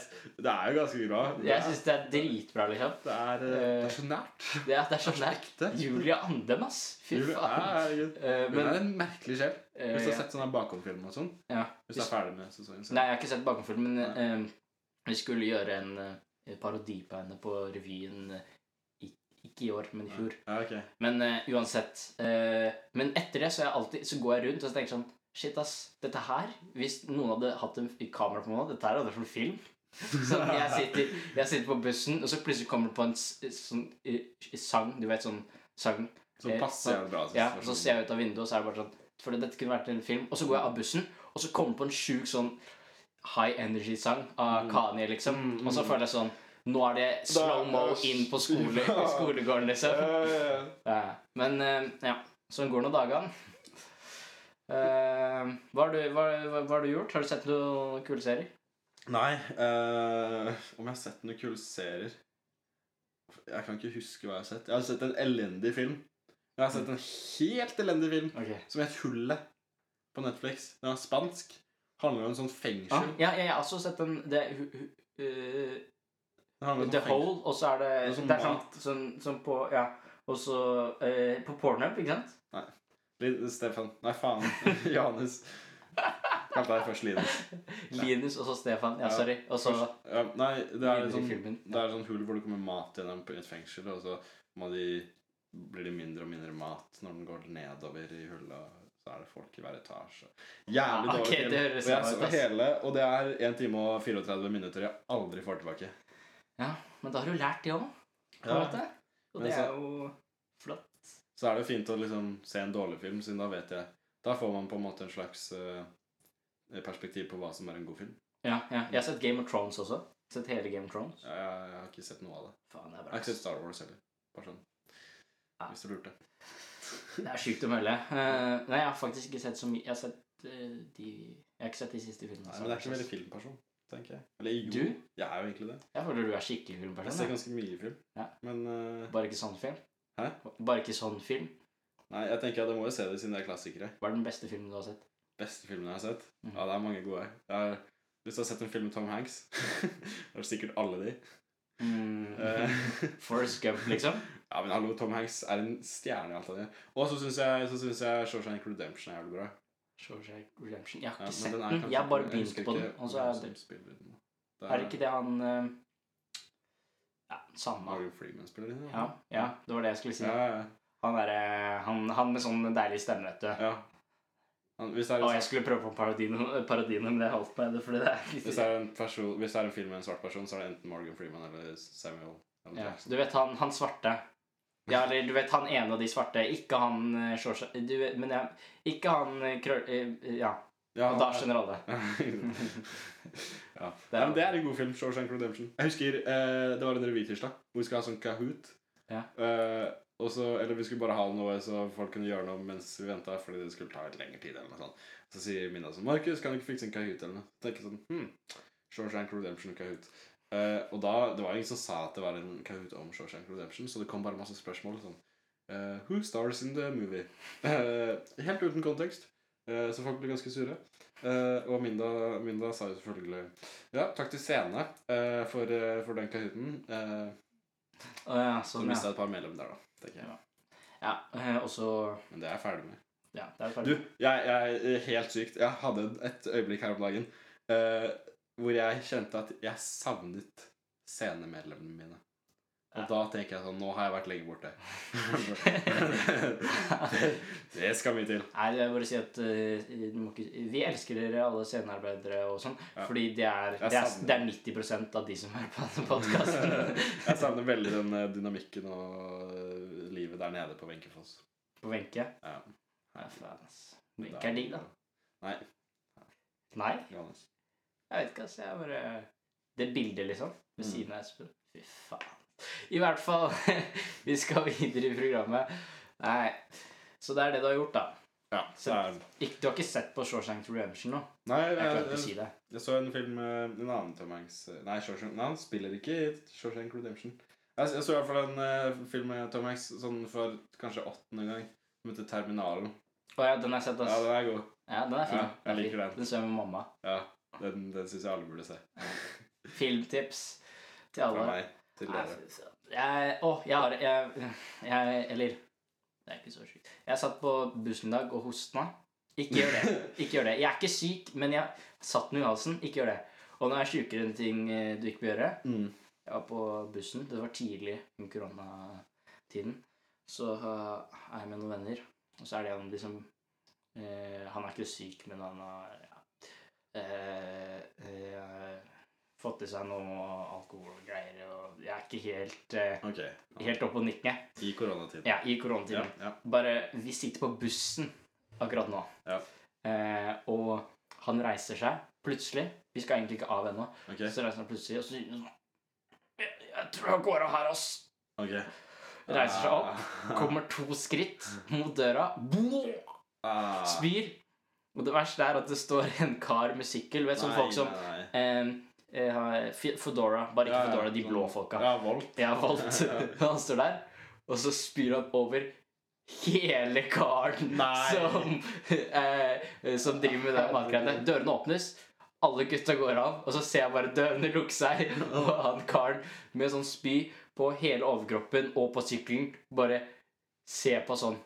[SPEAKER 2] det er jo ganske bra. Det
[SPEAKER 3] Jeg
[SPEAKER 2] er-
[SPEAKER 3] syns det er dritbra, liksom.
[SPEAKER 2] det er, eh, det er så nært.
[SPEAKER 3] Det er, det er så nært.
[SPEAKER 2] ekte.
[SPEAKER 3] Julia Andem, ass. Fy
[SPEAKER 2] Jul-
[SPEAKER 3] faen.
[SPEAKER 2] Ja, herregud.
[SPEAKER 3] Eh,
[SPEAKER 2] Hun
[SPEAKER 3] men
[SPEAKER 2] er en merkelig sjel.
[SPEAKER 3] eh,
[SPEAKER 2] Hvis du har
[SPEAKER 3] ja.
[SPEAKER 2] sett sånne bakomfilmer og sånn.
[SPEAKER 3] ja.
[SPEAKER 2] Hvis du er ferdig med sesongen. Så.
[SPEAKER 3] Nei, jeg har ikke sett bakenfull, men eh, vi skulle gjøre en eh, parodi på henne på revyen eh, i- ikke i år, men i fjor.
[SPEAKER 2] Ja, ok.
[SPEAKER 3] Men eh, uansett. eh, men etter det så, er jeg alltid, så går jeg rundt og så tenker jeg sånn Shit, ass. Dette her Hvis noen hadde hatt en f- kamera på meg, dette her hadde vært en film. Så jeg sitter, jeg sitter på bussen, og så plutselig kommer det på en s- sånn eh, sang. Du vet, sånn sang
[SPEAKER 2] Så
[SPEAKER 3] Eh,
[SPEAKER 2] passer jeg bra.
[SPEAKER 3] Ja, og så ser jeg ut av vinduet, og så er det bare sånn Fordi dette kunne vært en film. Og så går jeg av bussen, og så kommer det på en sjuk sånn high energy-sang av
[SPEAKER 2] Mm.
[SPEAKER 3] Kanye, liksom.
[SPEAKER 2] Mm,
[SPEAKER 3] Og så
[SPEAKER 2] mm.
[SPEAKER 3] føler jeg sånn Nå er det
[SPEAKER 2] Da
[SPEAKER 3] slow-mo
[SPEAKER 2] er det-
[SPEAKER 3] inn på skole,
[SPEAKER 2] Ja.
[SPEAKER 3] skolegården, liksom.
[SPEAKER 2] Eh,
[SPEAKER 3] Ja. Men eh, ja, sånn går nå dagene. Eh, hva, har du, hva, hva, hva har du gjort? Har du sett noen kule serier?
[SPEAKER 2] Nei eh, Om jeg har sett noen kule serier Jeg kan ikke huske hva jeg har sett. Jeg har sett en elendig film. Jeg har sett en helt elendig film som het Hullet på Netflix. Den er spansk. Handler om en sånn
[SPEAKER 3] Ah,
[SPEAKER 2] fengsel.
[SPEAKER 3] ja, jeg har også sett den det, hu- hu- eh,
[SPEAKER 2] Den handler om
[SPEAKER 3] The
[SPEAKER 2] sånn fengsel.
[SPEAKER 3] Hole, og så er det
[SPEAKER 2] Det er sånn
[SPEAKER 3] Det er sånn,
[SPEAKER 2] mat.
[SPEAKER 3] sånn, sånn på Ja. Og så eh, på Pornhub, ikke sant?
[SPEAKER 2] Lin- Stefan. Nei, faen. Johannes. Kalte deg først Linus.
[SPEAKER 3] Linus og så Stefan.
[SPEAKER 2] Ja.
[SPEAKER 3] Ja, sorry. Og så
[SPEAKER 2] Ja, nei, det er
[SPEAKER 3] videre i
[SPEAKER 2] sånn
[SPEAKER 3] filmen.
[SPEAKER 2] Det er sånn hull hvor det kommer mat til dem på- i et fengsel, og så må de, blir det mindre og mindre mat når den går nedover i hullet. Så er det folk i hver etasje. Jævlig
[SPEAKER 3] Ah,
[SPEAKER 2] dårlig
[SPEAKER 3] ok,
[SPEAKER 2] film.
[SPEAKER 3] det høres
[SPEAKER 2] og
[SPEAKER 3] bra
[SPEAKER 2] jeg
[SPEAKER 3] ut,
[SPEAKER 2] så
[SPEAKER 3] ass.
[SPEAKER 2] hele, og det er 1 time og 34 minutter jeg aldri får tilbake.
[SPEAKER 3] Ja, men da har du lært det òg, på en
[SPEAKER 2] Ja.
[SPEAKER 3] måte. Og
[SPEAKER 2] Men
[SPEAKER 3] det
[SPEAKER 2] så-
[SPEAKER 3] er jo flott.
[SPEAKER 2] Så er det jo fint å liksom se en dårlig film, siden da vet jeg Da får man på en måte en slags eh, perspektiv på hva som er en god film.
[SPEAKER 3] Ja, ja. Jeg har sett Game of Thrones også. Sett hele Game of Thrones.
[SPEAKER 2] Jeg, jeg, jeg har ikke sett noe av det.
[SPEAKER 3] Faen, det er
[SPEAKER 2] Jeg har
[SPEAKER 3] bra.
[SPEAKER 2] ikke sett Star Wars heller. Bare sånn.
[SPEAKER 3] Ja.
[SPEAKER 2] Hvis du lurte.
[SPEAKER 3] Det er sjukt å melde. Eh, nei, jeg har faktisk ikke sett så mye Jeg har sett eh, de Jeg har ikke sett de siste filmene.
[SPEAKER 2] Nei,
[SPEAKER 3] så-
[SPEAKER 2] men jeg er ikke veldig filmperson, tenker jeg. Eller jo,
[SPEAKER 3] Du?
[SPEAKER 2] jeg er jo egentlig det.
[SPEAKER 3] Jeg føler du er skikkelig
[SPEAKER 2] Jeg ser
[SPEAKER 3] filmperson.
[SPEAKER 2] ganske mye film.
[SPEAKER 3] Ja.
[SPEAKER 2] Men eh,
[SPEAKER 3] da. Bare ikke sånn film.
[SPEAKER 2] Hæ?
[SPEAKER 3] Bare ikke sånn film.
[SPEAKER 2] nei, jeg tenker at jeg må jo se det siden det er klassikere.
[SPEAKER 3] Hva er den beste filmen du har sett?
[SPEAKER 2] Beste filmen jeg har sett.
[SPEAKER 3] Mhm.
[SPEAKER 2] Ja, det er mange gode. Jeg har lyst til å sette en film med Tom Hanks. det er sikkert alle de. Eh,
[SPEAKER 3] Mm. Forrest Gump, liksom?
[SPEAKER 2] ja, men hallo, Tom Hanks er en stjerne i alt av det. Og så syns jeg, så synes jeg Shawshank Redemption er jævlig bra.
[SPEAKER 3] Shawshank Redemption. Jeg har
[SPEAKER 2] Ja,
[SPEAKER 3] ikke
[SPEAKER 2] men
[SPEAKER 3] sett
[SPEAKER 2] den
[SPEAKER 3] den.
[SPEAKER 2] er kanskje-
[SPEAKER 3] Jeg har bare
[SPEAKER 2] jeg
[SPEAKER 3] begynt
[SPEAKER 2] husker
[SPEAKER 3] på den.
[SPEAKER 2] ikke
[SPEAKER 3] Og så
[SPEAKER 2] hvem
[SPEAKER 3] er
[SPEAKER 2] som
[SPEAKER 3] det
[SPEAKER 2] spiller i den.
[SPEAKER 3] Er det ikke det han eh, Ja, samme
[SPEAKER 2] Mario Freeman spiller i den?
[SPEAKER 3] ja, ja, det var det jeg skulle si.
[SPEAKER 2] Ja, ja,
[SPEAKER 3] Han, er, eh, han, han med sånn deilig stemme, vet du.
[SPEAKER 2] ja. Han, hvis, det er
[SPEAKER 3] Og
[SPEAKER 2] en,
[SPEAKER 3] jeg skulle prøve på parodien, parodien eh, men det holdt meg. Fordi det er
[SPEAKER 2] hvis, det er en person, hvis det er en film med en svart person, så er det enten Morgan Freeman eller Samuel L.
[SPEAKER 3] ja.
[SPEAKER 2] Jackson.
[SPEAKER 3] Du vet han, han svarte Ja, eller du vet han ene av de svarte. Ikke han eh, Shawshank du vet, Men jeg, ikke han eh, krøll... eh, Ja.
[SPEAKER 2] Ja,
[SPEAKER 3] Og da skjønner alle.
[SPEAKER 2] ja.
[SPEAKER 3] Det er-
[SPEAKER 2] Nei, men det er en god film. Shawshank Redemption. Jeg husker eh, det var en revytirsdag hvor vi skulle ha sånn Kahoot.
[SPEAKER 3] Ja.
[SPEAKER 2] Eh, og så- eller vi skulle bare ha noe så folk kunne gjøre noe mens vi venta, fordi det skulle ta litt lengre tid. eller noe sånt. Så sier Minna sånn 'Markus, kan du ikke fikse en Kahoot?' eller noe. Så tenker jeg sånn hm, Shawshank Redemption Kahoot. Eh, og da, Det var ingen som sa at det var en Kahoot om Shawshank Redemption, så det kom bare masse spørsmål. sånn eh, Who stars in the movie? Eh, helt uten kontekst. Eh, så folk ble ganske sure. Eh, og Minda, Minda sa jo selvfølgelig Ja, takk til Sene eh, for, eh, for den kahooten. Eh,
[SPEAKER 3] Å ja,
[SPEAKER 2] så
[SPEAKER 3] sånn,
[SPEAKER 2] mista
[SPEAKER 3] ja.
[SPEAKER 2] jeg et par mellom der, da. tenker jeg.
[SPEAKER 3] ja. eh, Og så
[SPEAKER 2] Men det er jeg ferdig med.
[SPEAKER 3] Ja, det er
[SPEAKER 2] Du,
[SPEAKER 3] ferdig.
[SPEAKER 2] jeg, jeg er helt sykt. Jeg hadde et øyeblikk her om dagen eh, hvor jeg kjente at jeg savnet scenemedlemmene mine. Og
[SPEAKER 3] Ja.
[SPEAKER 2] da tenker jeg sånn Nå har jeg vært lenge borte. det, det skal mye til.
[SPEAKER 3] Nei, jeg vil bare si at eh, du må ikke, Vi elsker dere, alle scenearbeidere og sånn.
[SPEAKER 2] Ja.
[SPEAKER 3] Fordi det er,
[SPEAKER 2] Jeg
[SPEAKER 3] det, er,
[SPEAKER 2] savner
[SPEAKER 3] det er 90 av de som hører på denne podkasten.
[SPEAKER 2] Jeg savner veldig den eh, dynamikken og eh, livet der nede på Venkefoss.
[SPEAKER 3] på Wenche.
[SPEAKER 2] Ja.
[SPEAKER 3] Ja, faen, ass. Wenche er digg, da.
[SPEAKER 2] Nei.
[SPEAKER 3] Nei,
[SPEAKER 2] Johannes.
[SPEAKER 3] jeg vet ikke, ass. Jeg bare Det bildet, liksom. Ved
[SPEAKER 2] Mm.
[SPEAKER 3] siden av Espen. Fy faen. I hvert fall. vi skal videre i programmet. Nei. Så det er det du har gjort, da.
[SPEAKER 2] Ja, så er det.
[SPEAKER 3] Ikke, du har ikke sett på Shawshank Redemption nå?
[SPEAKER 2] Nei, jeg,
[SPEAKER 3] Jeg
[SPEAKER 2] jeg,
[SPEAKER 3] klarte ikke å si det.
[SPEAKER 2] jeg så en film med en annen Tom Hanks eh, Nei, Shawshank, nei han spiller ikke i Shawshank Redemption. Jeg, jeg så i hvert fall en eh, film med Tom Hanks sånn for kanskje åttende gang. Som heter Terminalen.
[SPEAKER 3] Å ja, den har jeg sett,
[SPEAKER 2] Ja,
[SPEAKER 3] ass.
[SPEAKER 2] den er god.
[SPEAKER 3] Ja, den er fin.
[SPEAKER 2] Ja, jeg
[SPEAKER 3] Den er
[SPEAKER 2] liker
[SPEAKER 3] fin.
[SPEAKER 2] den.
[SPEAKER 3] Den så jeg med mamma.
[SPEAKER 2] Ja, Den, den syns jeg alle burde se.
[SPEAKER 3] Filmtips til
[SPEAKER 2] Fra
[SPEAKER 3] alle.
[SPEAKER 2] meg til
[SPEAKER 3] Nei, altså,
[SPEAKER 2] dere.
[SPEAKER 3] fy søren. Jeg, å, jeg har jeg, jeg, Eller Det er ikke så sjukt. Jeg satt på bussen i dag og hostna. Ikke gjør det. Ikke gjør det. Jeg er ikke syk, men jeg satt noe i halsen. Ikke gjør det. Og nå er jeg sjukere enn ting eh, du ikke bør gjøre.
[SPEAKER 2] Mm.
[SPEAKER 3] Jeg var på bussen. Det var tidlig i koronatiden. Så eh, er jeg med noen venner, og så er det han liksom eh, Han er ikke syk, men han har ja, eh, eh, fått i seg noe alkohol og greier, og jeg er ikke helt, eh,
[SPEAKER 2] Ok.
[SPEAKER 3] helt oppe og nikker.
[SPEAKER 2] I koronatiden.
[SPEAKER 3] Ja, i
[SPEAKER 2] Ja,
[SPEAKER 3] koronatiden.
[SPEAKER 2] ja.
[SPEAKER 3] Bare Vi sitter på bussen akkurat nå,
[SPEAKER 2] Ja.
[SPEAKER 3] eh, og han reiser seg plutselig. Vi skal egentlig ikke av ennå.
[SPEAKER 2] Ok.
[SPEAKER 3] Så reiser han plutselig, og så sier han sånn jeg, jeg tror jeg går av her, ass.
[SPEAKER 2] ok.
[SPEAKER 3] Reiser seg opp,
[SPEAKER 2] Ah.
[SPEAKER 3] kommer to skritt mot døra, boom,
[SPEAKER 2] Ah.
[SPEAKER 3] spyr. Og det verste er at det står en kar med sykkel, vet du, sånn
[SPEAKER 2] Nei,
[SPEAKER 3] folk som
[SPEAKER 2] nei, nei.
[SPEAKER 3] eh, eh, har Fe- Fedora, bare ikke
[SPEAKER 2] Ja, ja,
[SPEAKER 3] Fedora, de
[SPEAKER 2] sånn-
[SPEAKER 3] blå folka.
[SPEAKER 2] Ja, Volt.
[SPEAKER 3] Jeg har valgt Han står der, og så spyr han over hele karen
[SPEAKER 2] Nei.
[SPEAKER 3] som, eh, som driver med det matgreiene. Dørene åpnes, alle gutta går av, og så ser jeg bare dørene lukke seg, og han karen med sånn spy på hele overkroppen og på sykkelen bare ser på sånn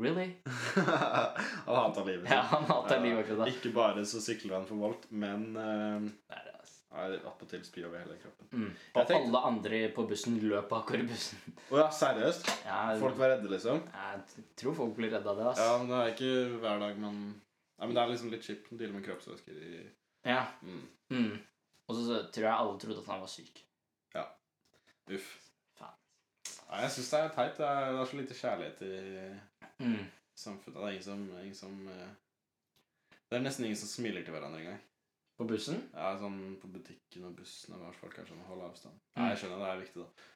[SPEAKER 3] Really?
[SPEAKER 2] han hater livet sitt.
[SPEAKER 3] Ja, han hater livet akkurat da.
[SPEAKER 2] Ikke bare så sykler han for Volt, men eh,
[SPEAKER 3] Nei, det er altså-
[SPEAKER 2] er attpåtil spyr over hele kroppen.
[SPEAKER 3] Mm.
[SPEAKER 2] Jeg
[SPEAKER 3] Og
[SPEAKER 2] tenkte-
[SPEAKER 3] alle andre på bussen løp bakover i bussen.
[SPEAKER 2] Å ja, seriøst?
[SPEAKER 3] Ja,
[SPEAKER 2] Folk var redde, liksom?
[SPEAKER 3] jeg tror folk blir redde av det,
[SPEAKER 2] Ja,
[SPEAKER 3] altså.
[SPEAKER 2] men det er ikke hver dag man Nei, men det er liksom litt kjipt å deale med kroppsvæsker i
[SPEAKER 3] Ja.
[SPEAKER 2] mm.
[SPEAKER 3] Mm. Og så så tror jeg alle trodde at han var syk.
[SPEAKER 2] Uff.
[SPEAKER 3] Faen.
[SPEAKER 2] Nei, jeg syns det er teit. Det er, det er så lite kjærlighet i
[SPEAKER 3] Mm.
[SPEAKER 2] samfunnet. Det er ingen som, ingen som eh, Det er nesten ingen som smiler til hverandre engang.
[SPEAKER 3] På bussen?
[SPEAKER 2] Ja, sånn på butikken og bussen og hva folk er sånn Hold avstand.
[SPEAKER 3] Mm.
[SPEAKER 2] Nei, jeg skjønner det er viktig, da.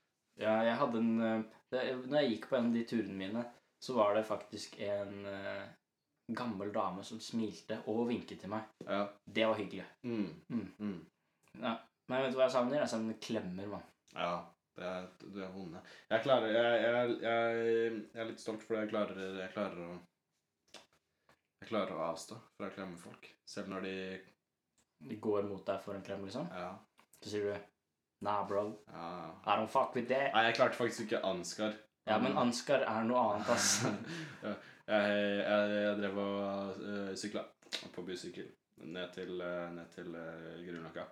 [SPEAKER 3] Ja, jeg hadde en eh, det, Når jeg gikk på en av de turene mine, så var det faktisk en eh, gammel dame som smilte og vinket til meg.
[SPEAKER 2] Ja.
[SPEAKER 3] Det var hyggelig.
[SPEAKER 2] Mm. Mm.
[SPEAKER 3] Mm. Men vet du hva jeg savner? Jeg savner klemmer, mann.
[SPEAKER 2] ja. Det er, du er vonde. Jeg klarer jeg, jeg, jeg, jeg er litt stolt fordi jeg klarer, jeg klarer å Jeg klarer å avstå fra å klemme folk. Selv når de
[SPEAKER 3] De går mot deg for en klem, liksom.
[SPEAKER 2] Ja.
[SPEAKER 3] Så sier du Nah, bro.
[SPEAKER 2] ja.
[SPEAKER 3] I don't fuck with that.
[SPEAKER 2] Nei, jeg klarte faktisk ikke Ansgar.
[SPEAKER 3] Ja, men Ansgar er noe annet, ass.
[SPEAKER 2] Ja, jeg, jeg, jeg drev og uh, sykla på bysykkel ned til, eh, ned til eh, Grünerløkka.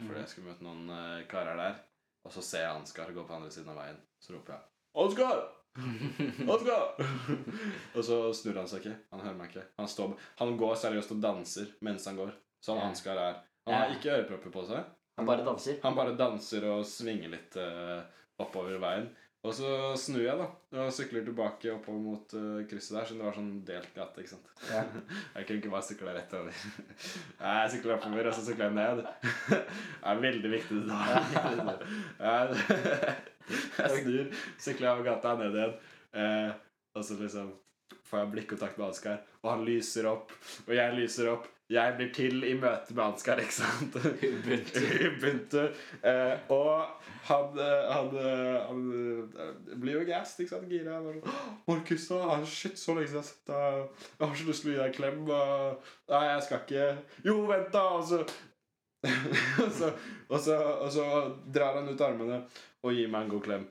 [SPEAKER 2] Fordi jeg skulle møte noen eh, karer der. Og så ser jeg Ansgar gå på andre siden av veien. Så roper jeg 'Ansgar! Ansgar!' og så snur han seg ikke. Han hører meg ikke. Han, står, han går seriøst og danser mens han går. Sånn
[SPEAKER 3] Ja.
[SPEAKER 2] Ansgar er. Han har
[SPEAKER 3] Ja.
[SPEAKER 2] ikke ørepropper på seg.
[SPEAKER 3] Han bare danser.
[SPEAKER 2] Han bare danser og svinger litt eh, oppover veien. Og så snur jeg, da, og sykler tilbake oppover mot eh, krysset der, siden det var sånn delt gate, ikke sant.
[SPEAKER 3] Ja.
[SPEAKER 2] Jeg kunne ikke bare sykle rett over. Nei, jeg sykler oppover, og så sykler jeg ned. Det er veldig viktig det der. Jeg- Jeg snur, sykler jeg over gata ned igjen, eh, og så liksom får jeg blikkontakt med Ansgar, og han lyser opp, og jeg lyser opp. Jeg blir til i møte med Ansgar, ikke sant?
[SPEAKER 3] Ubuntu.
[SPEAKER 2] Ubuntu. Eh, og han, eh, han, eh, han eh, blir jo gassed, ikke sant? Gira. Han var sånn, «Åh, Markus, da, ah, shit, så lenge siden jeg har sett deg. Jeg har så lyst til å gi deg en klem. og- Nei, jeg skal ikke Jo, vent, da! Og så, og så, og så, og så drar han ut armene og gir meg en god klem.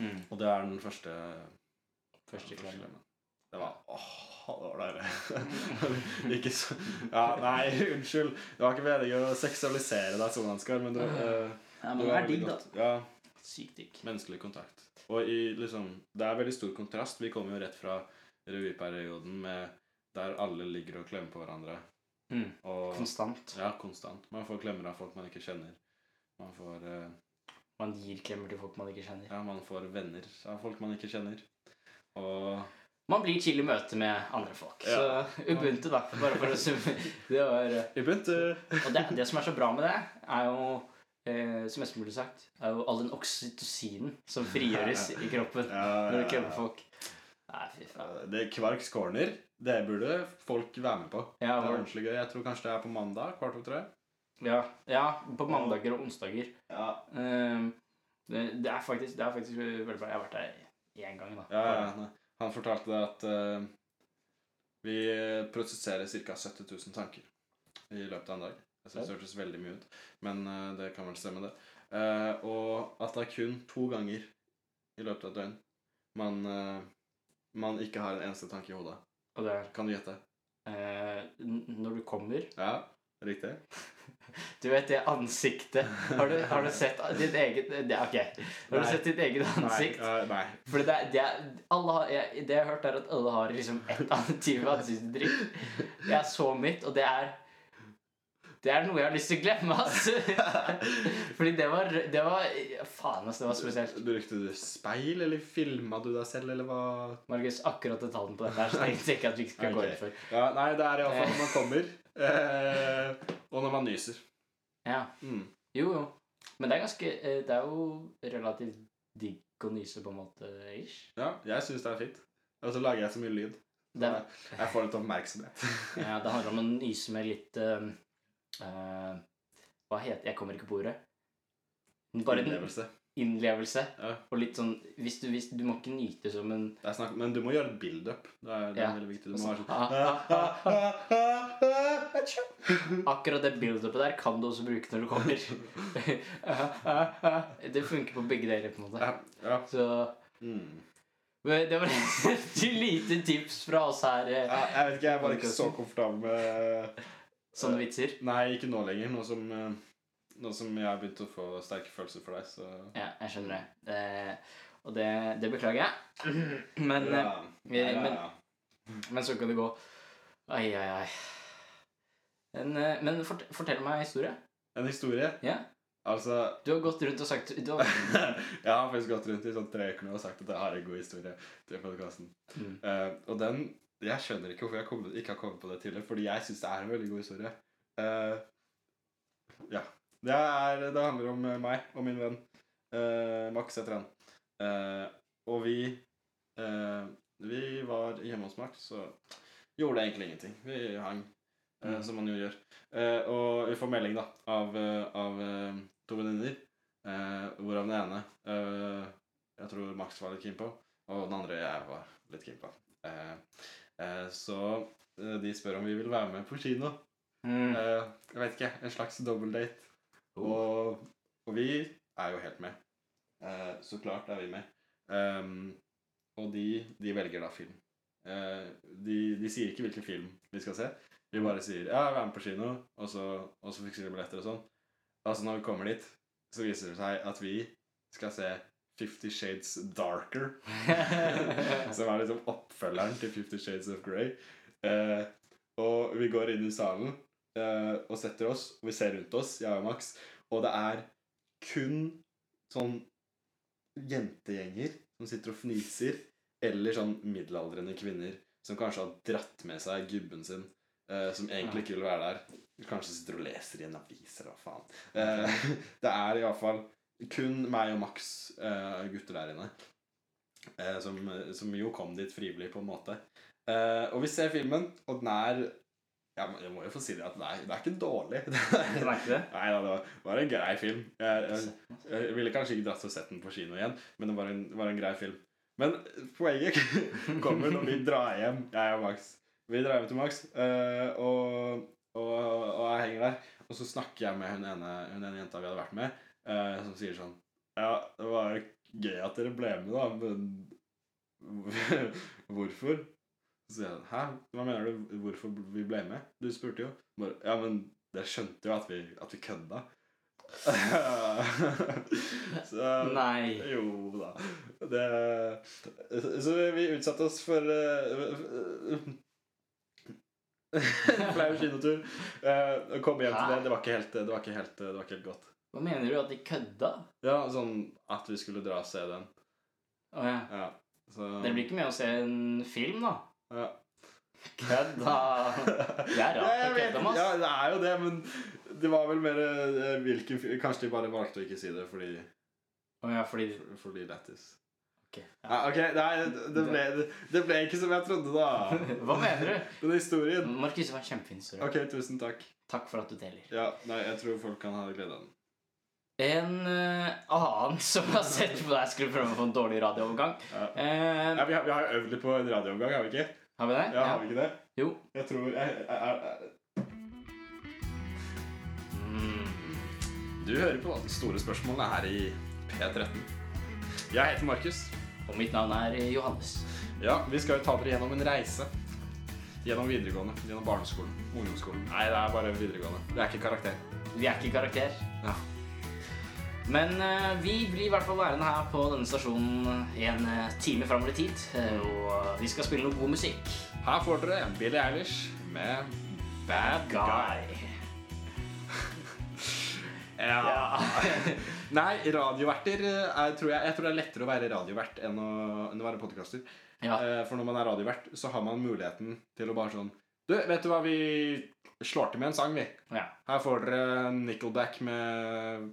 [SPEAKER 3] Mm.
[SPEAKER 2] Og det er den første,
[SPEAKER 3] Første
[SPEAKER 2] den
[SPEAKER 3] klem.
[SPEAKER 2] Det var åh, det var deilig. ikke så Ja, nei, unnskyld. Det var ikke meningen å seksualisere deg sånn, Ansgar, men det, eh,
[SPEAKER 3] Ja,
[SPEAKER 2] det
[SPEAKER 3] men det
[SPEAKER 2] var
[SPEAKER 3] er digg,
[SPEAKER 2] veldig
[SPEAKER 3] da.
[SPEAKER 2] godt. Ja,
[SPEAKER 3] Sykt digg.
[SPEAKER 2] menneskelig kontakt. Og i, liksom, det er veldig stor kontrast. Vi kommer jo rett fra revyperioden med der alle ligger og klemmer på hverandre.
[SPEAKER 3] Mm.
[SPEAKER 2] Og,
[SPEAKER 3] Konstant.
[SPEAKER 2] ja, konstant. Man får klemmer av folk man ikke kjenner. Man får, eh,
[SPEAKER 3] Man gir klemmer til folk man ikke kjenner.
[SPEAKER 2] ja, man får venner av folk man ikke kjenner. Og
[SPEAKER 3] Man blir chill i møte med andre folk.
[SPEAKER 2] Ja.
[SPEAKER 3] Så Ubuntu, da. Bare for å summe. Det var, eh,
[SPEAKER 2] Ubuntu.
[SPEAKER 3] og det, det som er så bra med det, er jo eh, som Espen burde sagt, er jo all den oksytocinen som frigjøres i kroppen
[SPEAKER 2] Ja,
[SPEAKER 3] når du
[SPEAKER 2] ja,
[SPEAKER 3] kødder med
[SPEAKER 2] ja.
[SPEAKER 3] folk. Nei, fy faen.
[SPEAKER 2] Det er Kvarks corner. Det burde folk være med på.
[SPEAKER 3] Ja,
[SPEAKER 2] Det er
[SPEAKER 3] hvor-
[SPEAKER 2] ordentlig gøy. Jeg tror kanskje det er på mandag. Kvart over tre.
[SPEAKER 3] ja, ja, på mandager og onsdager.
[SPEAKER 2] Ja,
[SPEAKER 3] Ehm, det, det, er faktisk, det er faktisk veldig bra. Jeg har vært der én gang, da.
[SPEAKER 2] ja, ja. Han fortalte det at eh, vi prosesserer ca. 70 000 tanker i løpet av en dag. Jeg synes det hørtes veldig mye ut, men eh, det kan vel stemme, det. Eh, og at det er kun to ganger i løpet av et døgn man, eh, man ikke har en eneste tanke i hodet.
[SPEAKER 3] Og det er
[SPEAKER 2] Kan du gjette?
[SPEAKER 3] eh, n- Når du kommer
[SPEAKER 2] Ja, riktig.
[SPEAKER 3] Du vet det ansiktet Har du, har du sett ditt eget det, Ok. Har du
[SPEAKER 2] Nei.
[SPEAKER 3] sett ditt eget ansikt?
[SPEAKER 2] Nei. eh, nei.
[SPEAKER 3] For det, er- det, er- alle har, jeg, det jeg har hørt, er at alle har liksom ett annet type ansiktsuttrykk. Det er så mitt, og det er Det er noe jeg har lyst til å glemme, ass. Fordi det var, det var Faen, ass, det var spesielt.
[SPEAKER 2] Brukte du speil, eller filma du deg selv, eller hva?
[SPEAKER 3] Markus, akkurat detaljen på dette her, så tenkte jeg ikke at vi ikke skulle gå
[SPEAKER 2] Ok.
[SPEAKER 3] inn for.
[SPEAKER 2] Ja, nei, det er iallfall når man kommer, eh, og når man nyser.
[SPEAKER 3] Ja.
[SPEAKER 2] Mm.
[SPEAKER 3] Jo, jo. Men det er ganske eh, Det er jo relativt digg å nyse, på en måte, ish.
[SPEAKER 2] Ja, jeg syns det er fint. Og så lager jeg så mye lyd.
[SPEAKER 3] Det, er-
[SPEAKER 2] Jeg, jeg får litt oppmerksomhet.
[SPEAKER 3] ja, Eh, det handler om å nyse med litt eh, eh, Hva heter Jeg kommer ikke på ordet. Bare en
[SPEAKER 2] Innlevelse.
[SPEAKER 3] innlevelse.
[SPEAKER 2] Ja.
[SPEAKER 3] Og litt sånn hvis du, hvis, du må ikke nyte som en
[SPEAKER 2] Det er snakk, men du må gjøre et build-up. Det er, det er
[SPEAKER 3] Ja.
[SPEAKER 2] veldig viktig. Du må være sånn
[SPEAKER 3] Ah, ah, ah, ah. Akkurat det build-upet der kan du også bruke når du kommer. Ah, ah, ah. det funker på begge deler, på en måte.
[SPEAKER 2] Ja. ja.
[SPEAKER 3] Så
[SPEAKER 2] Mm.
[SPEAKER 3] men det var et lite tips fra oss her. eh,
[SPEAKER 2] ja. Jeg vet ikke, jeg var ikke så komfortabel med
[SPEAKER 3] Sånne vitser.
[SPEAKER 2] Nei, ikke nå lenger. Nå som, eh, nå som jeg har begynt å få sterke følelser for deg, så
[SPEAKER 3] Ja, jeg skjønner det. Eh, og det, det beklager jeg. Men, eh,
[SPEAKER 2] ja, ja,
[SPEAKER 3] men-
[SPEAKER 2] ja.
[SPEAKER 3] men så kan det gå. Ai, ai, ai. Men, eh, men fort, fortell meg en historie.
[SPEAKER 2] En historie.
[SPEAKER 3] Ja?
[SPEAKER 2] Altså
[SPEAKER 3] Du har gått rundt og sagt du har,
[SPEAKER 2] jeg har faktisk gått rundt i sånn tre uker nå og sagt at jeg har en god historie til podkasten.
[SPEAKER 3] mm.
[SPEAKER 2] og den Jeg skjønner ikke hvorfor jeg kom, ikke har kommet på det tidligere, fordi jeg syns det er en veldig god historie. Eh, ja. Det, er, det handler om eh, meg og min venn eh, Max heter han. Eh, og vi eh, Vi var hjemme hos Max, så gjorde egentlig ingenting. Vi hang, eh,
[SPEAKER 3] Mm.
[SPEAKER 2] som man jo gjør. Eh, og vi får melding, da, av, eh, av eh, to venninner. Eh, hvorav den ene eh, jeg tror Max var litt keen på, og den andre jeg var litt keen på. Eh, eh, så eh, de spør om vi vil være med på kino.
[SPEAKER 3] Mm.
[SPEAKER 2] Eh, jeg vet ikke, en slags dobbeltdate. Og, og vi er jo helt med. Eh, så klart er vi med. Ehm, og de, de velger da film. Eh, de, de sier ikke hvilken film vi skal se. Vi bare sier 'ja, vær med på kino', og så, og så fikser de billetter og sånn. Altså, når vi kommer dit, så viser det seg at vi skal se Fifty Shades Darker. som er liksom oppfølgeren til Fifty Shades of Grey. Eh, og vi går inn i salen eh, og setter oss, og vi ser rundt oss, jeg og Max, og det er kun sånn jentegjenger som sitter og fniser, eller sånn middelaldrende kvinner som kanskje har dratt med seg gubben sin, eh, som egentlig ikke vil være der. Kanskje sitter og leser i en avis, eller hva faen. Eh, det er iallfall kun meg og Max eh, gutter der inne. Eh, som, som jo kom dit frivillig, på en måte. Eh, og vi ser filmen, og den er Jeg må, jeg må jo få si det at den er, den er ikke dårlig.
[SPEAKER 3] Det var ikke det?
[SPEAKER 2] Nei da, det var, var en grei film. Jeg, jeg,
[SPEAKER 3] altså.
[SPEAKER 2] jeg ville kanskje ikke dratt og sett den på kino igjen, men det var en, var en grei film. Men poenget kommer når vi drar hjem, jeg og Max. Vi drar hjem til Max, eh, og, og, og jeg henger der. Og så snakker jeg med hun ene, hun ene jenta vi hadde vært med, eh, som sier sånn Ja, det var jo gøy at dere ble med, da, men hvorfor? Så sier jeg Hæ, hva mener du? Hvorfor vi ble med? Du spurte jo. Bare, ja, men dere skjønte jo at vi, at vi kødda. så
[SPEAKER 3] Nei.
[SPEAKER 2] Jo da. Det Så vi utsatte oss for eh, en flau kinotur. Eh, og kom hjem til det. Det var ikke helt, det var ikke helt, det var ikke helt godt.
[SPEAKER 3] Hva mener du? At de kødda?
[SPEAKER 2] Ja, sånn at vi skulle dra og se den.
[SPEAKER 3] Å ja.
[SPEAKER 2] Ja. Så,
[SPEAKER 3] Det blir ikke med å se en film, da.
[SPEAKER 2] ja.
[SPEAKER 3] Kødda. Det er
[SPEAKER 2] Ja,
[SPEAKER 3] rart å
[SPEAKER 2] jeg vet,
[SPEAKER 3] kødde med
[SPEAKER 2] ja,
[SPEAKER 3] oss.
[SPEAKER 2] det er jo det, men det var vel mer eh, hvilken fi- Kanskje de bare valgte å ikke si det fordi,
[SPEAKER 3] Å ja, fordi
[SPEAKER 2] fordi lættis.
[SPEAKER 3] ok, ja.
[SPEAKER 2] Ja, ok, nei, det ble, det ble ikke som jeg trodde, da.
[SPEAKER 3] Hva mener du?
[SPEAKER 2] Men historien
[SPEAKER 3] Markus det var kjempefin. Sorry.
[SPEAKER 2] Ok, tusen takk.
[SPEAKER 3] Takk for at du deler.
[SPEAKER 2] Ja, nei, Jeg tror folk kan ha glede av den.
[SPEAKER 3] En eh, annen som har sett på deg, skulle prøve å få en dårlig radioovergang.
[SPEAKER 2] Ja. Ja,
[SPEAKER 3] Eh,
[SPEAKER 2] vi, har, vi har øvd litt på en radioomgang, har vi ikke?
[SPEAKER 3] har vi det?
[SPEAKER 2] Ja, har vi ikke det?
[SPEAKER 3] Jo.
[SPEAKER 2] Jeg tror jeg, jeg, jeg, jeg.
[SPEAKER 3] Mm.
[SPEAKER 2] Du hører på de store spørsmålene her i P13. Jeg heter Markus.
[SPEAKER 3] Og mitt navn er eh, Johannes.
[SPEAKER 2] Ja, vi skal jo ta dere gjennom en reise. Gjennom videregående, gjennom barneskolen, ungdomsskolen. Nei, det er bare videregående. Det er ikke karakter.
[SPEAKER 3] Vi er ikke i karakter.
[SPEAKER 2] Ja.
[SPEAKER 3] Men eh, vi blir i hvert fall værende her på denne stasjonen en eh, time framover i tid. eh,
[SPEAKER 2] Mm.
[SPEAKER 3] og vi skal spille noe god musikk.
[SPEAKER 2] Her får dere Billie Eilish med Bad Guy.
[SPEAKER 3] Guy.
[SPEAKER 2] Ja.
[SPEAKER 3] Ja.
[SPEAKER 2] Nei, radioverter eh, er, tror jeg, jeg tror det er lettere å være radiovert enn å, enn å være podkaster.
[SPEAKER 3] ja.
[SPEAKER 2] Eh, For når man er radiovert, så har man muligheten til å bare sånn Du, vet du hva, vi slår til med en sang, vi.
[SPEAKER 3] ja.
[SPEAKER 2] Her får dere Nickelback med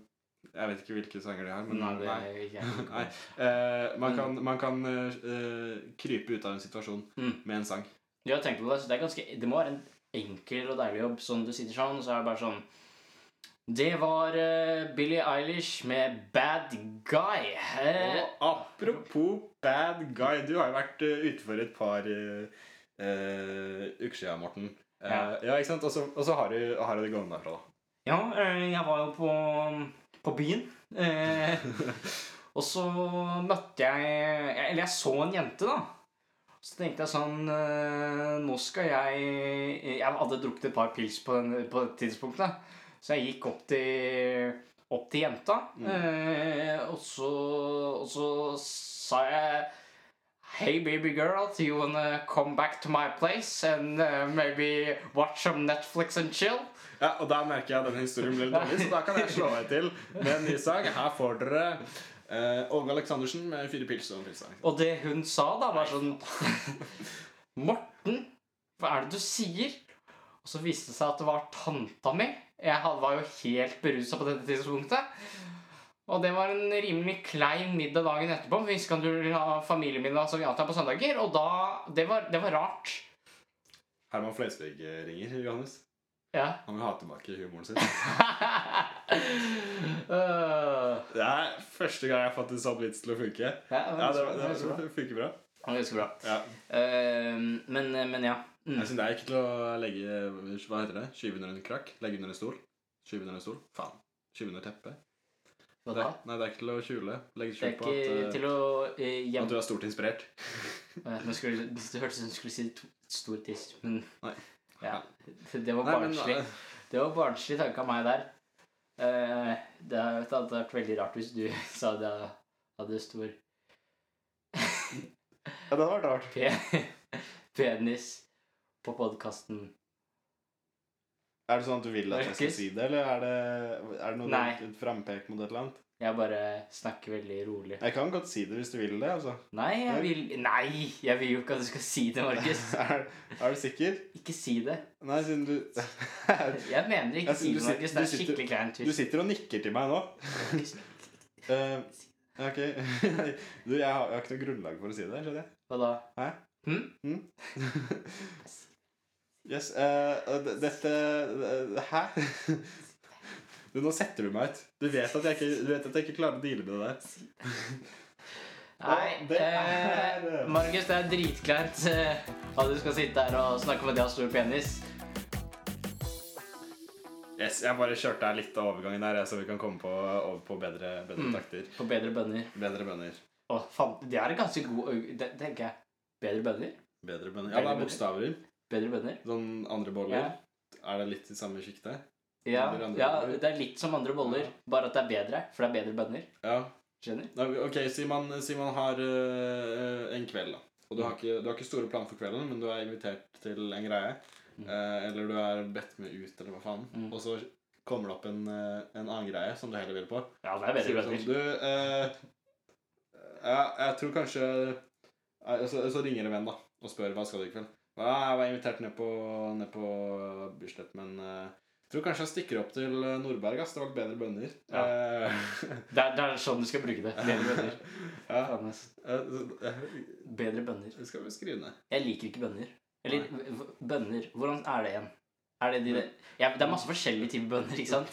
[SPEAKER 2] Jeg vet ikke hvilke sanger de har, men
[SPEAKER 3] Nei,
[SPEAKER 2] nei.
[SPEAKER 3] det er ikke Mm. jeg.
[SPEAKER 2] Nei. Eh, man kan, man kan eh, eh, krype ut av en situasjon
[SPEAKER 3] Mm.
[SPEAKER 2] med en sang.
[SPEAKER 3] Jeg har tenkt på det, så det er ganske Det må være en enkel og deilig jobb. Sånn du sitter sånn, så er det bare sånn Det var eh, Billie Eilish med 'Bad Guy'. Eh,
[SPEAKER 2] Og apropos bad guy, du har jo vært eh, ute for et par eh, eh, uker siden, Morten. Eh, ja.
[SPEAKER 3] Ja.
[SPEAKER 2] ikke sant? Og så- Og så har du har du det gående derfra, da.
[SPEAKER 3] Ja, eh, jeg var jo på, på byen. Eh, og så møtte jeg Eller jeg så en jente, da. Så tenkte jeg sånn eh, Nå skal jeg Jeg hadde drukket et par pils på, den, på det tidspunktet. Så jeg gikk opp til, opp til jenta. Eh, og, så, og så sa jeg Hey baby girl, do you wanna come back to my place and eh, maybe watch some Netflix and chill?
[SPEAKER 2] Ja, og da merker jeg at denne historien ble litt dårlig, så da kan jeg slå meg til med en ny sang. Her får dere eh, Åge Aleksandersen med fire pils og en pilsang.
[SPEAKER 3] Og det hun sa da, var sånn Morten, hva er det du sier? Og så viste det seg at det var tanta mi. Jeg had- var jo helt berusa på dette tidspunktet. Og det var en rimelig klein middag dagen etterpå. for Vi skal ha familiemiddag som vi alltid har på søndager. Og da Det var, det var rart.
[SPEAKER 2] Herman Flesvig eh, ringer, Johannes.
[SPEAKER 3] Ja.
[SPEAKER 2] Han vil ha tilbake humoren sin.
[SPEAKER 3] Øh,
[SPEAKER 2] Det er første gang jeg har fått en sånn vits til å funke.
[SPEAKER 3] ja,
[SPEAKER 2] Ja, det,
[SPEAKER 3] var
[SPEAKER 2] det, det funker bra.
[SPEAKER 3] ganske bra.
[SPEAKER 2] Ja.
[SPEAKER 3] Øh, men, men ja. Mm.
[SPEAKER 2] Jeg synes det er ikke til å legge Hva heter det? Skyve under en krakk? Legge under en stol? Skyve under en stol? Faen. Skyve under teppet?
[SPEAKER 3] Hva
[SPEAKER 2] Det,
[SPEAKER 3] da?
[SPEAKER 2] nei, det er ikke til å skjule. Legge
[SPEAKER 3] Det er
[SPEAKER 2] skjul på
[SPEAKER 3] ikke
[SPEAKER 2] at, eh,
[SPEAKER 3] til å eh, gjemme
[SPEAKER 2] at du er stort inspirert.
[SPEAKER 3] Eh, Nå skulle, det hørtes ut som du skulle si to, stor tiss, men
[SPEAKER 2] Nei.
[SPEAKER 3] Ja, det var
[SPEAKER 2] Nei, men,
[SPEAKER 3] barnslig.
[SPEAKER 2] eh,
[SPEAKER 3] Det var barnslig tanke av meg der. Eh, Det hadde det hadde vært veldig rart hvis du sa det hadde stor
[SPEAKER 2] ja, det hadde vært rart.
[SPEAKER 3] pe penis på podkasten.
[SPEAKER 2] Er det sånn at du vil at jeg skal
[SPEAKER 3] Markus?
[SPEAKER 2] si det, eller er det, er det noe
[SPEAKER 3] Nei.
[SPEAKER 2] et frampek mot et eller annet?
[SPEAKER 3] Jeg bare snakker veldig rolig.
[SPEAKER 2] Jeg kan godt si det hvis du vil det, altså.
[SPEAKER 3] Nei, jeg vil Nei! Jeg vil jo ikke at du skal si det, Markus.
[SPEAKER 2] er, er du sikker?
[SPEAKER 3] Ikke si det.
[SPEAKER 2] Nei, siden du
[SPEAKER 3] Jeg mener
[SPEAKER 2] Jeg
[SPEAKER 3] ikke
[SPEAKER 2] synes
[SPEAKER 3] si
[SPEAKER 2] du
[SPEAKER 3] det,
[SPEAKER 2] sit- du
[SPEAKER 3] Markus. Det er
[SPEAKER 2] sitter-
[SPEAKER 3] skikkelig kleint.
[SPEAKER 2] Du sitter og nikker til meg nå. Eh, ok. Du, jeg har, jeg har ikke noe grunnlag for å si det, skjønner jeg.
[SPEAKER 3] Hva da?
[SPEAKER 2] Hæ?
[SPEAKER 3] Hm?
[SPEAKER 2] Yes, eh, d- dette eh, Hæ? Du, nå setter du meg ut. Du vet at jeg ikke, du vet at jeg ikke klarer å deale med det der.
[SPEAKER 3] Nei,
[SPEAKER 2] Og det
[SPEAKER 3] eh,
[SPEAKER 2] er-
[SPEAKER 3] Markus, det er dritkleint eh, at du skal sitte her og snakke om at jeg har stor penis.
[SPEAKER 2] Yes, Jeg bare kjørte her litt av overgangen der, jeg, så vi kan komme på, over på bedre, bedre
[SPEAKER 3] Mm.
[SPEAKER 2] takter.
[SPEAKER 3] På bedre bønner.
[SPEAKER 2] Bedre bønner.
[SPEAKER 3] Å, faen, det er en ganske god øy- det tenker jeg. Bedre bønner?
[SPEAKER 2] Bedre bønner.
[SPEAKER 3] Bedre
[SPEAKER 2] Ja, det er
[SPEAKER 3] bønner.
[SPEAKER 2] bokstaver.
[SPEAKER 3] Bedre bønner?
[SPEAKER 2] Sånn andre boller. Er det litt i samme sjiktet?
[SPEAKER 3] Ja,
[SPEAKER 2] Bedre andre
[SPEAKER 3] ja,
[SPEAKER 2] boller.
[SPEAKER 3] det er litt som andre boller,
[SPEAKER 2] Ja.
[SPEAKER 3] bare at det er bedre, for det er bedre bønner.
[SPEAKER 2] Ja.
[SPEAKER 3] Skjønner?
[SPEAKER 2] Nei, Ok, si man, si man har øh, en kveld, da. Og du har, ikke, du har ikke store planer for kvelden, men du er invitert til en greie.
[SPEAKER 3] Mm.
[SPEAKER 2] eh, eller du er bedt med ut, eller hva faen.
[SPEAKER 3] Mm.
[SPEAKER 2] Og så kommer det opp en, eh, en annen greie som du heller vil på.
[SPEAKER 3] Ja, det er
[SPEAKER 2] Sier sånn,
[SPEAKER 3] bedre
[SPEAKER 2] du sånn
[SPEAKER 3] bønner.
[SPEAKER 2] Du, eh, ja, jeg tror kanskje Nei, Så, så ringer en venn da og spør hva skal du i kveld. Ja, jeg var invitert ned på, ned på Bislett, men eh, jeg tror kanskje jeg stikker opp til eh, Nordberg. Ass. Det var bedre bønner.
[SPEAKER 3] Ja.
[SPEAKER 2] Eh,
[SPEAKER 3] Det er, det er sånn du skal bruke det. Bedre bønner.
[SPEAKER 2] ja.
[SPEAKER 3] Faen, ass.
[SPEAKER 2] eh, så- eh,
[SPEAKER 3] Bedre bønner.
[SPEAKER 2] Det skal vi skrive ned.
[SPEAKER 3] Jeg liker ikke bønner. Eller v- v- bønner Hvordan er det igjen? Er det de der ja, Det er masse forskjellige typer bønner, ikke sant?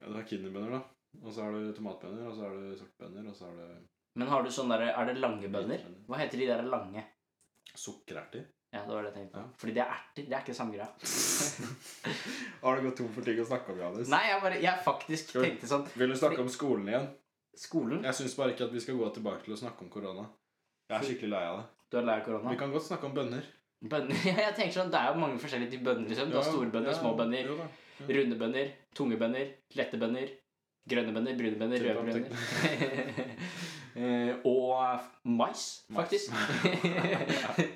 [SPEAKER 2] Ja, du har kinderbønner, da. Og så har du tomatbønner, og så har du sortbønner, og så har du
[SPEAKER 3] Men har du sånn der, er det lange bønner? Hva heter de der lange?
[SPEAKER 2] sukkererter.
[SPEAKER 3] Ja, det var det jeg tenkte
[SPEAKER 2] Ja.
[SPEAKER 3] på. Fordi det er erter. Det er ikke det samme greia.
[SPEAKER 2] har du gått tom for ting å snakke om, Johannes?
[SPEAKER 3] Nei, jeg bare Jeg faktisk
[SPEAKER 2] Skal vi-
[SPEAKER 3] tenkte sånn
[SPEAKER 2] Vil du snakke om skolen igjen?
[SPEAKER 3] Skolen
[SPEAKER 2] Jeg syns bare ikke at vi skal gå tilbake til å snakke om korona. Jeg er skikkelig lei av det.
[SPEAKER 3] Du er lei av
[SPEAKER 2] Vi
[SPEAKER 3] korona?
[SPEAKER 2] kan godt snakke om bønner.
[SPEAKER 3] Bønner Ja, jeg tenker sånn Det er jo mange forskjellige typer bønner, liksom. Du har store bønner,
[SPEAKER 2] ja,
[SPEAKER 3] små bønner,
[SPEAKER 2] Jo da.
[SPEAKER 3] runde bønner, tunge bønner, lette bønner, grønne bønner, brune bønner,
[SPEAKER 2] Typ
[SPEAKER 3] røde
[SPEAKER 2] av
[SPEAKER 3] bønner. Eh, Og mais, faktisk. men, eh,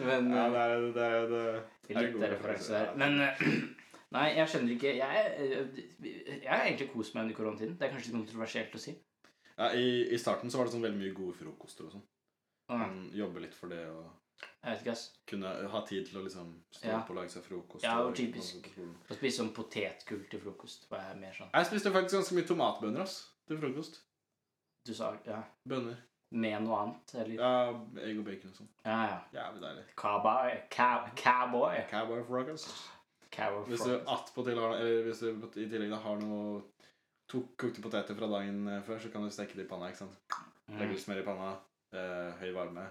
[SPEAKER 3] men
[SPEAKER 2] Ja, det er,
[SPEAKER 3] eh,
[SPEAKER 2] det er, det er. er det
[SPEAKER 3] Litt
[SPEAKER 2] god
[SPEAKER 3] referanse
[SPEAKER 2] referanse,
[SPEAKER 3] der.
[SPEAKER 2] ja.
[SPEAKER 3] Men eh, Nei, jeg skjønner ikke Jeg, eh, jeg har egentlig kost meg under koronatiden. Det er kanskje litt kontroversielt å si.
[SPEAKER 2] Ja, i, I starten så var det sånn veldig mye gode frokoster og sånn.
[SPEAKER 3] Mm,
[SPEAKER 2] Man Jobbe litt for det og
[SPEAKER 3] Jeg vet ikke, ass.
[SPEAKER 2] kunne ha tid til å liksom stå
[SPEAKER 3] Ja.
[SPEAKER 2] opp og lage seg frokost.
[SPEAKER 3] Ja,
[SPEAKER 2] og- liksom
[SPEAKER 3] det var typisk.
[SPEAKER 2] og- og-
[SPEAKER 3] Å spise sånn potetgull til frokost var jeg mer sånn
[SPEAKER 2] Jeg spiste faktisk ganske mye tomatbønner ass, til frokost.
[SPEAKER 3] Du sa ja.
[SPEAKER 2] Bønner.
[SPEAKER 3] Med noe annet, eller?
[SPEAKER 2] Ja, egg og bacon og sånn.
[SPEAKER 3] Ja, ja.
[SPEAKER 2] Jævlig deilig.
[SPEAKER 3] Cowboy. Cow, cowboy.
[SPEAKER 2] Cowboy frokost.
[SPEAKER 3] Cowboy
[SPEAKER 2] Hvis du attpåtil har Eller hvis du i tillegg da har noe tok, kokte poteter fra dagen eh, før, så kan du steke det i panna. ikke sant? Legge
[SPEAKER 3] Mm.
[SPEAKER 2] litt smør i panna, eh, høy varme,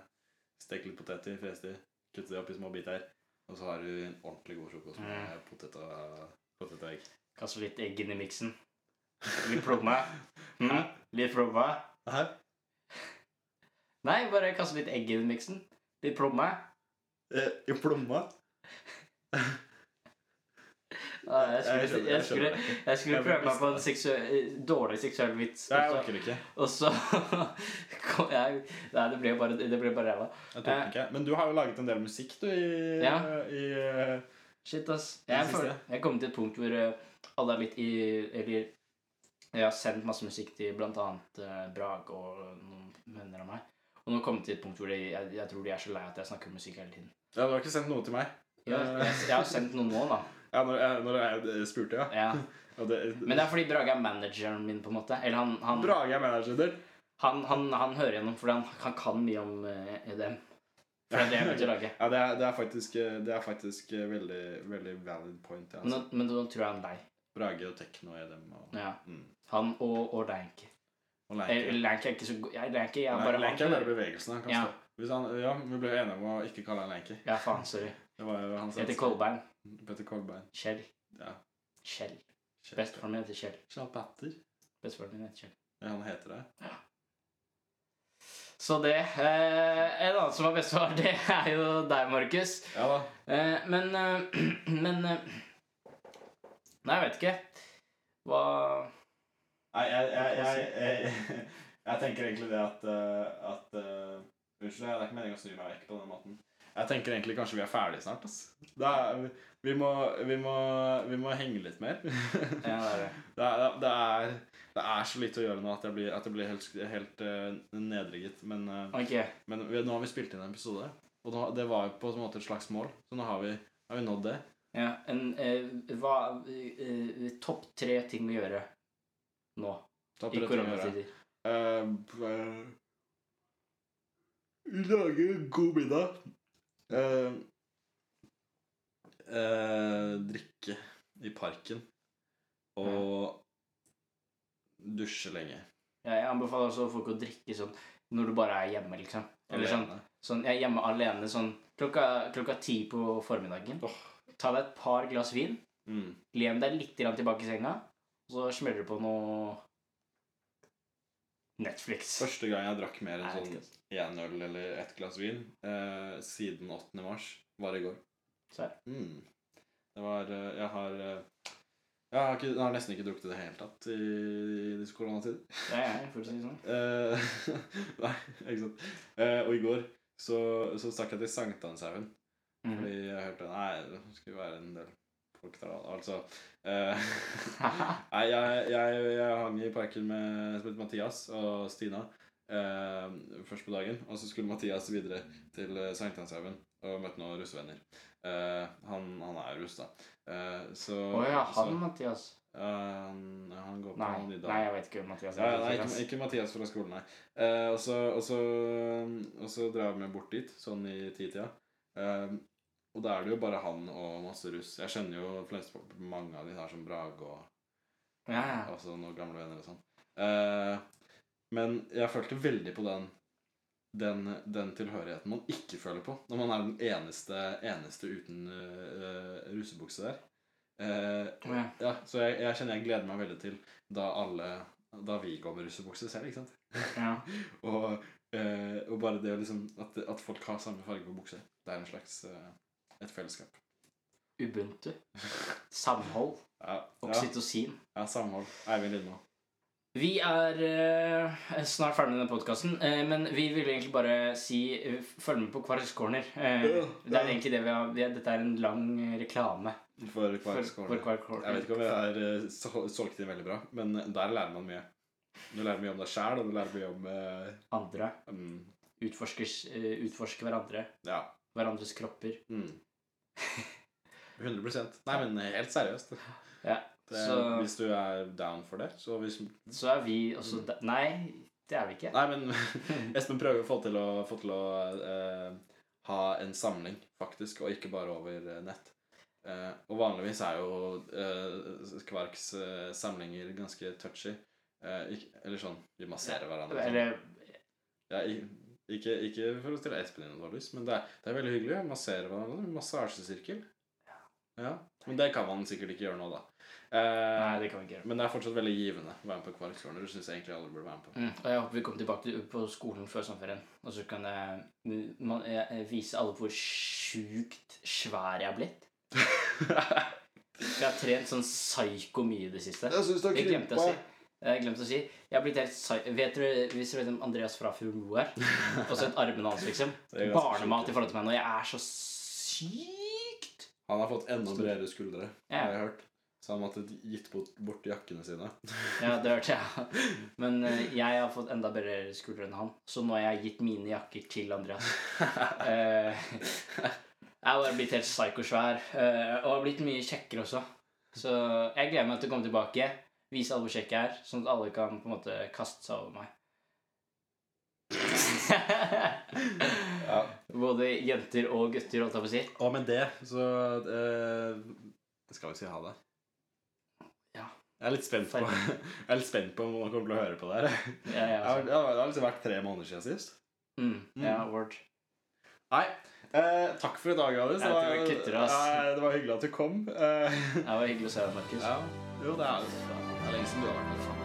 [SPEAKER 2] steke litt poteter, frese de, kutte de opp i små biter, og så har du en ordentlig god frokost med potet og, potet og egg.
[SPEAKER 3] Kaste litt egg inn i miksen. Litt plomme. Mm. Litt plomme.
[SPEAKER 2] Hæ?
[SPEAKER 3] Nei, bare kaste litt egg inn i miksen. Litt plomme.
[SPEAKER 2] Eh, I plomma?
[SPEAKER 3] Ja, jeg,
[SPEAKER 2] Jeg
[SPEAKER 3] skulle,
[SPEAKER 2] skjønner-
[SPEAKER 3] jeg,
[SPEAKER 2] jeg
[SPEAKER 3] skulle,
[SPEAKER 2] skjønner det.
[SPEAKER 3] jeg skulle
[SPEAKER 2] Jeg ble
[SPEAKER 3] prøve meg på en seksuell, eh, dårlig seksuell vits,
[SPEAKER 2] Nei, jeg
[SPEAKER 3] og så-
[SPEAKER 2] orker ikke.
[SPEAKER 3] og så kom jeg Nei, det ble jo bare det ble bare ræva.
[SPEAKER 2] Jeg tok den ikke. Men du har jo laget en del musikk, du, i,
[SPEAKER 3] Eh. Ja.
[SPEAKER 2] i eh,
[SPEAKER 3] Shit, ass.
[SPEAKER 2] Den
[SPEAKER 3] Jeg,
[SPEAKER 2] siste.
[SPEAKER 3] føler, jeg kom til et punkt hvor eh, alle er litt i Eller jeg har sendt masse musikk til blant annet eh, Brage og noen venner av meg. Og nå kom jeg til et punkt hvor de, jeg, jeg tror de er så lei at jeg snakker om musikk hele tiden.
[SPEAKER 2] Ja, du har ikke sendt noe til meg.
[SPEAKER 3] Jeg, jeg, jeg har sendt noen nå, da.
[SPEAKER 2] Ja, når jeg, når jeg spurte, ja.
[SPEAKER 3] Ja.
[SPEAKER 2] Og det,
[SPEAKER 3] Men det er fordi Brage er manageren min, på en måte. Eller han, han,
[SPEAKER 2] Brage er manageren din.
[SPEAKER 3] Han, han, han hører gjennom fordi han, han kan mye om eh, EDM. For det er det jeg begynte å lage.
[SPEAKER 2] Ja, det er, det er faktisk, eh, det er faktisk veldig, veldig valid point. Ja,
[SPEAKER 3] Men,
[SPEAKER 2] altså.
[SPEAKER 3] nå- men nå tror jeg han er lei.
[SPEAKER 2] Brage og Tekno er dem. Og,
[SPEAKER 3] Ja.
[SPEAKER 2] mm.
[SPEAKER 3] Han og, og Lanky.
[SPEAKER 2] og Lenke.
[SPEAKER 3] Lanky er ikke så god Jeg, Lanky, jeg er
[SPEAKER 2] Nei,
[SPEAKER 3] bare
[SPEAKER 2] Lenke er
[SPEAKER 3] han-
[SPEAKER 2] bare bevegelsen.
[SPEAKER 3] Ja.
[SPEAKER 2] Ja. Hvis han, ja, vi ble enige om å ikke kalle han Lenke.
[SPEAKER 3] Ja, faen, sorry.
[SPEAKER 2] Det var jo hans
[SPEAKER 3] Jeg heter Kolbein.
[SPEAKER 2] Petter Kolbein.
[SPEAKER 3] Kjell.
[SPEAKER 2] Ja.
[SPEAKER 3] Kjell.
[SPEAKER 2] Kjell-
[SPEAKER 3] Bestefaren min heter Kjell.
[SPEAKER 2] Kjell Petter.
[SPEAKER 3] Bestefaren min heter Kjell.
[SPEAKER 2] Ja, han heter det.
[SPEAKER 3] Så det eh, En annen som har bestefar, det er jo deg, Markus.
[SPEAKER 2] Ja da.
[SPEAKER 3] Eh, men eh, Men eh, Nei, jeg vet ikke. Hva
[SPEAKER 2] Nei, jeg, jeg, jeg, jeg, jeg, tenker egentlig det at, eh, at eh, Unnskyld, det er ikke meningen å snu meg vekk på den måten. Jeg tenker egentlig kanskje vi er ferdige snart. ass. Da, er- vi, må, vi, må, vi må henge litt mer.
[SPEAKER 3] Ja, det er det.
[SPEAKER 2] Det er, det, er, det er så lite å gjøre nå at jeg blir, at jeg blir helt, helt eh, nedrigget. Men, eh,
[SPEAKER 3] Ok.
[SPEAKER 2] men vi, nå har vi spilt inn en episode, og nå, det var jo på en måte et slags mål. Så nå har vi, har vi nådd det.
[SPEAKER 3] Ja, en, eh, hva, eh, eh, topp tre ting å gjøre nå
[SPEAKER 2] Topp
[SPEAKER 3] i
[SPEAKER 2] rett å gjøre.
[SPEAKER 3] koronatider.
[SPEAKER 2] Eh, eh, Lage god middag. Eh, eh, drikke i parken. Og dusje lenge.
[SPEAKER 3] Ja, jeg anbefaler også folk å drikke sånn når du bare er hjemme, liksom. Eller sånn,
[SPEAKER 2] Alene.
[SPEAKER 3] sånn Jeg er hjemme alene sånn klokka, klokka ti på formiddagen.
[SPEAKER 2] Åh.
[SPEAKER 3] Ta deg et par glass vin,
[SPEAKER 2] Mm.
[SPEAKER 3] len deg litt grann tilbake i senga, og så smeller du på noe Netflix.
[SPEAKER 2] Første gang jeg drakk mer
[SPEAKER 3] Nei,
[SPEAKER 2] enn
[SPEAKER 3] jeg vet
[SPEAKER 2] sånn
[SPEAKER 3] ikke, altså.
[SPEAKER 2] én øl eller ett glass vin eh, siden 8. mars var i går.
[SPEAKER 3] Serr?
[SPEAKER 2] Mm. Det var eh, Jeg har eh, jeg har, ikke, jeg har nesten ikke drukket i det hele tatt i, i disse koronatider.
[SPEAKER 3] Det er jeg, for å si det sånn.
[SPEAKER 2] Eh, nei, ikke sant. Eh, og i går så, så stakk jeg til Sankthanshaugen.
[SPEAKER 3] Mm.
[SPEAKER 2] Fordi jeg hørte Nei, det skulle være en del folk der, da. Altså eh, Nei, jeg, jeg, jeg hang i parken med jeg spilte Mathias og Stina. eh, først på dagen. Og så skulle Mathias videre til eh, Sankthanshaugen og møtte noen russevenner. Eh, han, han er russ, da. Eh, så
[SPEAKER 3] Å ja, han
[SPEAKER 2] så,
[SPEAKER 3] Mathias.
[SPEAKER 2] eh, han går på
[SPEAKER 3] Nei,
[SPEAKER 2] noen
[SPEAKER 3] nei, jeg vet ikke hvem Mathias
[SPEAKER 2] ja, ja, nei,
[SPEAKER 3] er.
[SPEAKER 2] ikke, ikke Mathias fra skolen, nei. Eh, og, så, og, så, og så drar vi bort dit, sånn i titida. Eh, og da er det jo bare han og masse russ. Jeg skjønner jo flest, mange av de her som Brage og
[SPEAKER 3] Ja, ja.
[SPEAKER 2] Altså noen gamle venner og sånn. Eh, men jeg følte veldig på den, den, den tilhørigheten man ikke føler på når man er den eneste, eneste uten eh, rusebukse der. Eh,
[SPEAKER 3] Å, ja.
[SPEAKER 2] ja, så jeg, jeg kjenner jeg gleder meg veldig til da alle Da vi går med russebukse selv, ikke sant?
[SPEAKER 3] ja.
[SPEAKER 2] Og, eh, og bare det å liksom at, at folk har samme farge på bukse. Det er en slags eh, et fellesskap.
[SPEAKER 3] Ubuntu. Samhold.
[SPEAKER 2] Ja, ja,
[SPEAKER 3] Oksytocin.
[SPEAKER 2] ja samhold. Eivind Lindmo.
[SPEAKER 3] Vi er eh, snart ferdig med denne podkasten, men vi ville egentlig bare si eh, følg med på Kvarks Corner. Eh,
[SPEAKER 2] Ja,
[SPEAKER 3] det er
[SPEAKER 2] ja.
[SPEAKER 3] egentlig det vi har vi, Dette er en lang eh, reklame
[SPEAKER 2] For
[SPEAKER 3] for,
[SPEAKER 2] Kvarks
[SPEAKER 3] for Kvarks Corner.
[SPEAKER 2] Jeg vet ikke om jeg har eh, sol- solgt inn veldig bra, men eh, der lærer man mye. Du lærer mye om deg sjæl, og du lærer mye om eh,
[SPEAKER 3] Andre.
[SPEAKER 2] mm,
[SPEAKER 3] Utforskers, eh, utforske hverandre.
[SPEAKER 2] Ja.
[SPEAKER 3] Hverandres kropper.
[SPEAKER 2] Mm. 100 Nei, men eh, helt seriøst.
[SPEAKER 3] Ja,
[SPEAKER 2] Det,
[SPEAKER 3] så-
[SPEAKER 2] Hvis du er down for det, så hvis
[SPEAKER 3] Så er vi
[SPEAKER 2] Mm.
[SPEAKER 3] også da- Nei, det er vi ikke.
[SPEAKER 2] Nei, men Espen prøver å få til å, få til å eh, ha en samling, faktisk, og ikke bare over eh, nett. Eh, og vanligvis er jo eh, Kvarks eh, samlinger ganske touchy. Eh, ikke, eller sånn Vi masserer hverandre. og sånn.
[SPEAKER 3] Eller
[SPEAKER 2] Ja, ik- ikke, ikke for å stille Espen inn noe lyst, men det er, det er veldig hyggelig. å Massere hverandre. Massasjesirkel. Ja. Men det kan man sikkert ikke gjøre nå, da. Eh,
[SPEAKER 3] Nei, det kan vi ikke gjøre.
[SPEAKER 2] Men det er fortsatt veldig givende å være med på Kvark Corner. Det syns jeg egentlig alle burde være med på.
[SPEAKER 3] Mm, og jeg håper vi kommer tilbake til, på skolen før sommerferien. Og så kan jeg, man, jeg, jeg vise alle hvor sjukt svær jeg har blitt. For jeg har trent sånn psyko mye i det siste.
[SPEAKER 2] syns du
[SPEAKER 3] Jeg glemte å si. Jeg glemte å si. Jeg har blitt helt psy- Vet dere hvis dere vet om Andreas fra Furlo er? Og så et armene hans, liksom.
[SPEAKER 2] Det er ganske
[SPEAKER 3] Barnemat
[SPEAKER 2] sjukt.
[SPEAKER 3] i forhold til meg nå. Jeg er så sykt
[SPEAKER 2] Han har fått enda bredere skuldre,
[SPEAKER 3] Ja.
[SPEAKER 2] har jeg hørt. Så han måtte gitt bort, bort jakkene sine.
[SPEAKER 3] Ja, det hørte jeg. Men eh, jeg har fått enda bedre skuldre enn han, så nå har jeg gitt mine jakker til Andreas. Eh, jeg har bare blitt helt psykosvær, eh, og har blitt mye kjekkere også. Så jeg gleder meg til å komme tilbake, vise alle hvor kjekk jeg er, sånn at alle kan på en måte kaste seg over meg.
[SPEAKER 2] Ja.
[SPEAKER 3] Både jenter og gutter, holdt jeg på å si.
[SPEAKER 2] Og med det så eh, Skal vi si ha det?
[SPEAKER 3] Ja.
[SPEAKER 2] Jeg er litt spent på, jeg er litt spent på om noen kommer til å høre på det her.
[SPEAKER 3] Ja, ja,
[SPEAKER 2] Ja,
[SPEAKER 3] altså.
[SPEAKER 2] Det har det har liksom vært tre måneder siden sist.
[SPEAKER 3] mm, ja, word.
[SPEAKER 2] Nei. Eh, takk for i dag, Alice.
[SPEAKER 3] Jeg tror jeg kutter, ass.
[SPEAKER 2] Nei, det var hyggelig at du kom. Eh,
[SPEAKER 3] Det var hyggelig å se deg, Markus.
[SPEAKER 2] ja. Jo, det er, det er lenge siden du har vært med.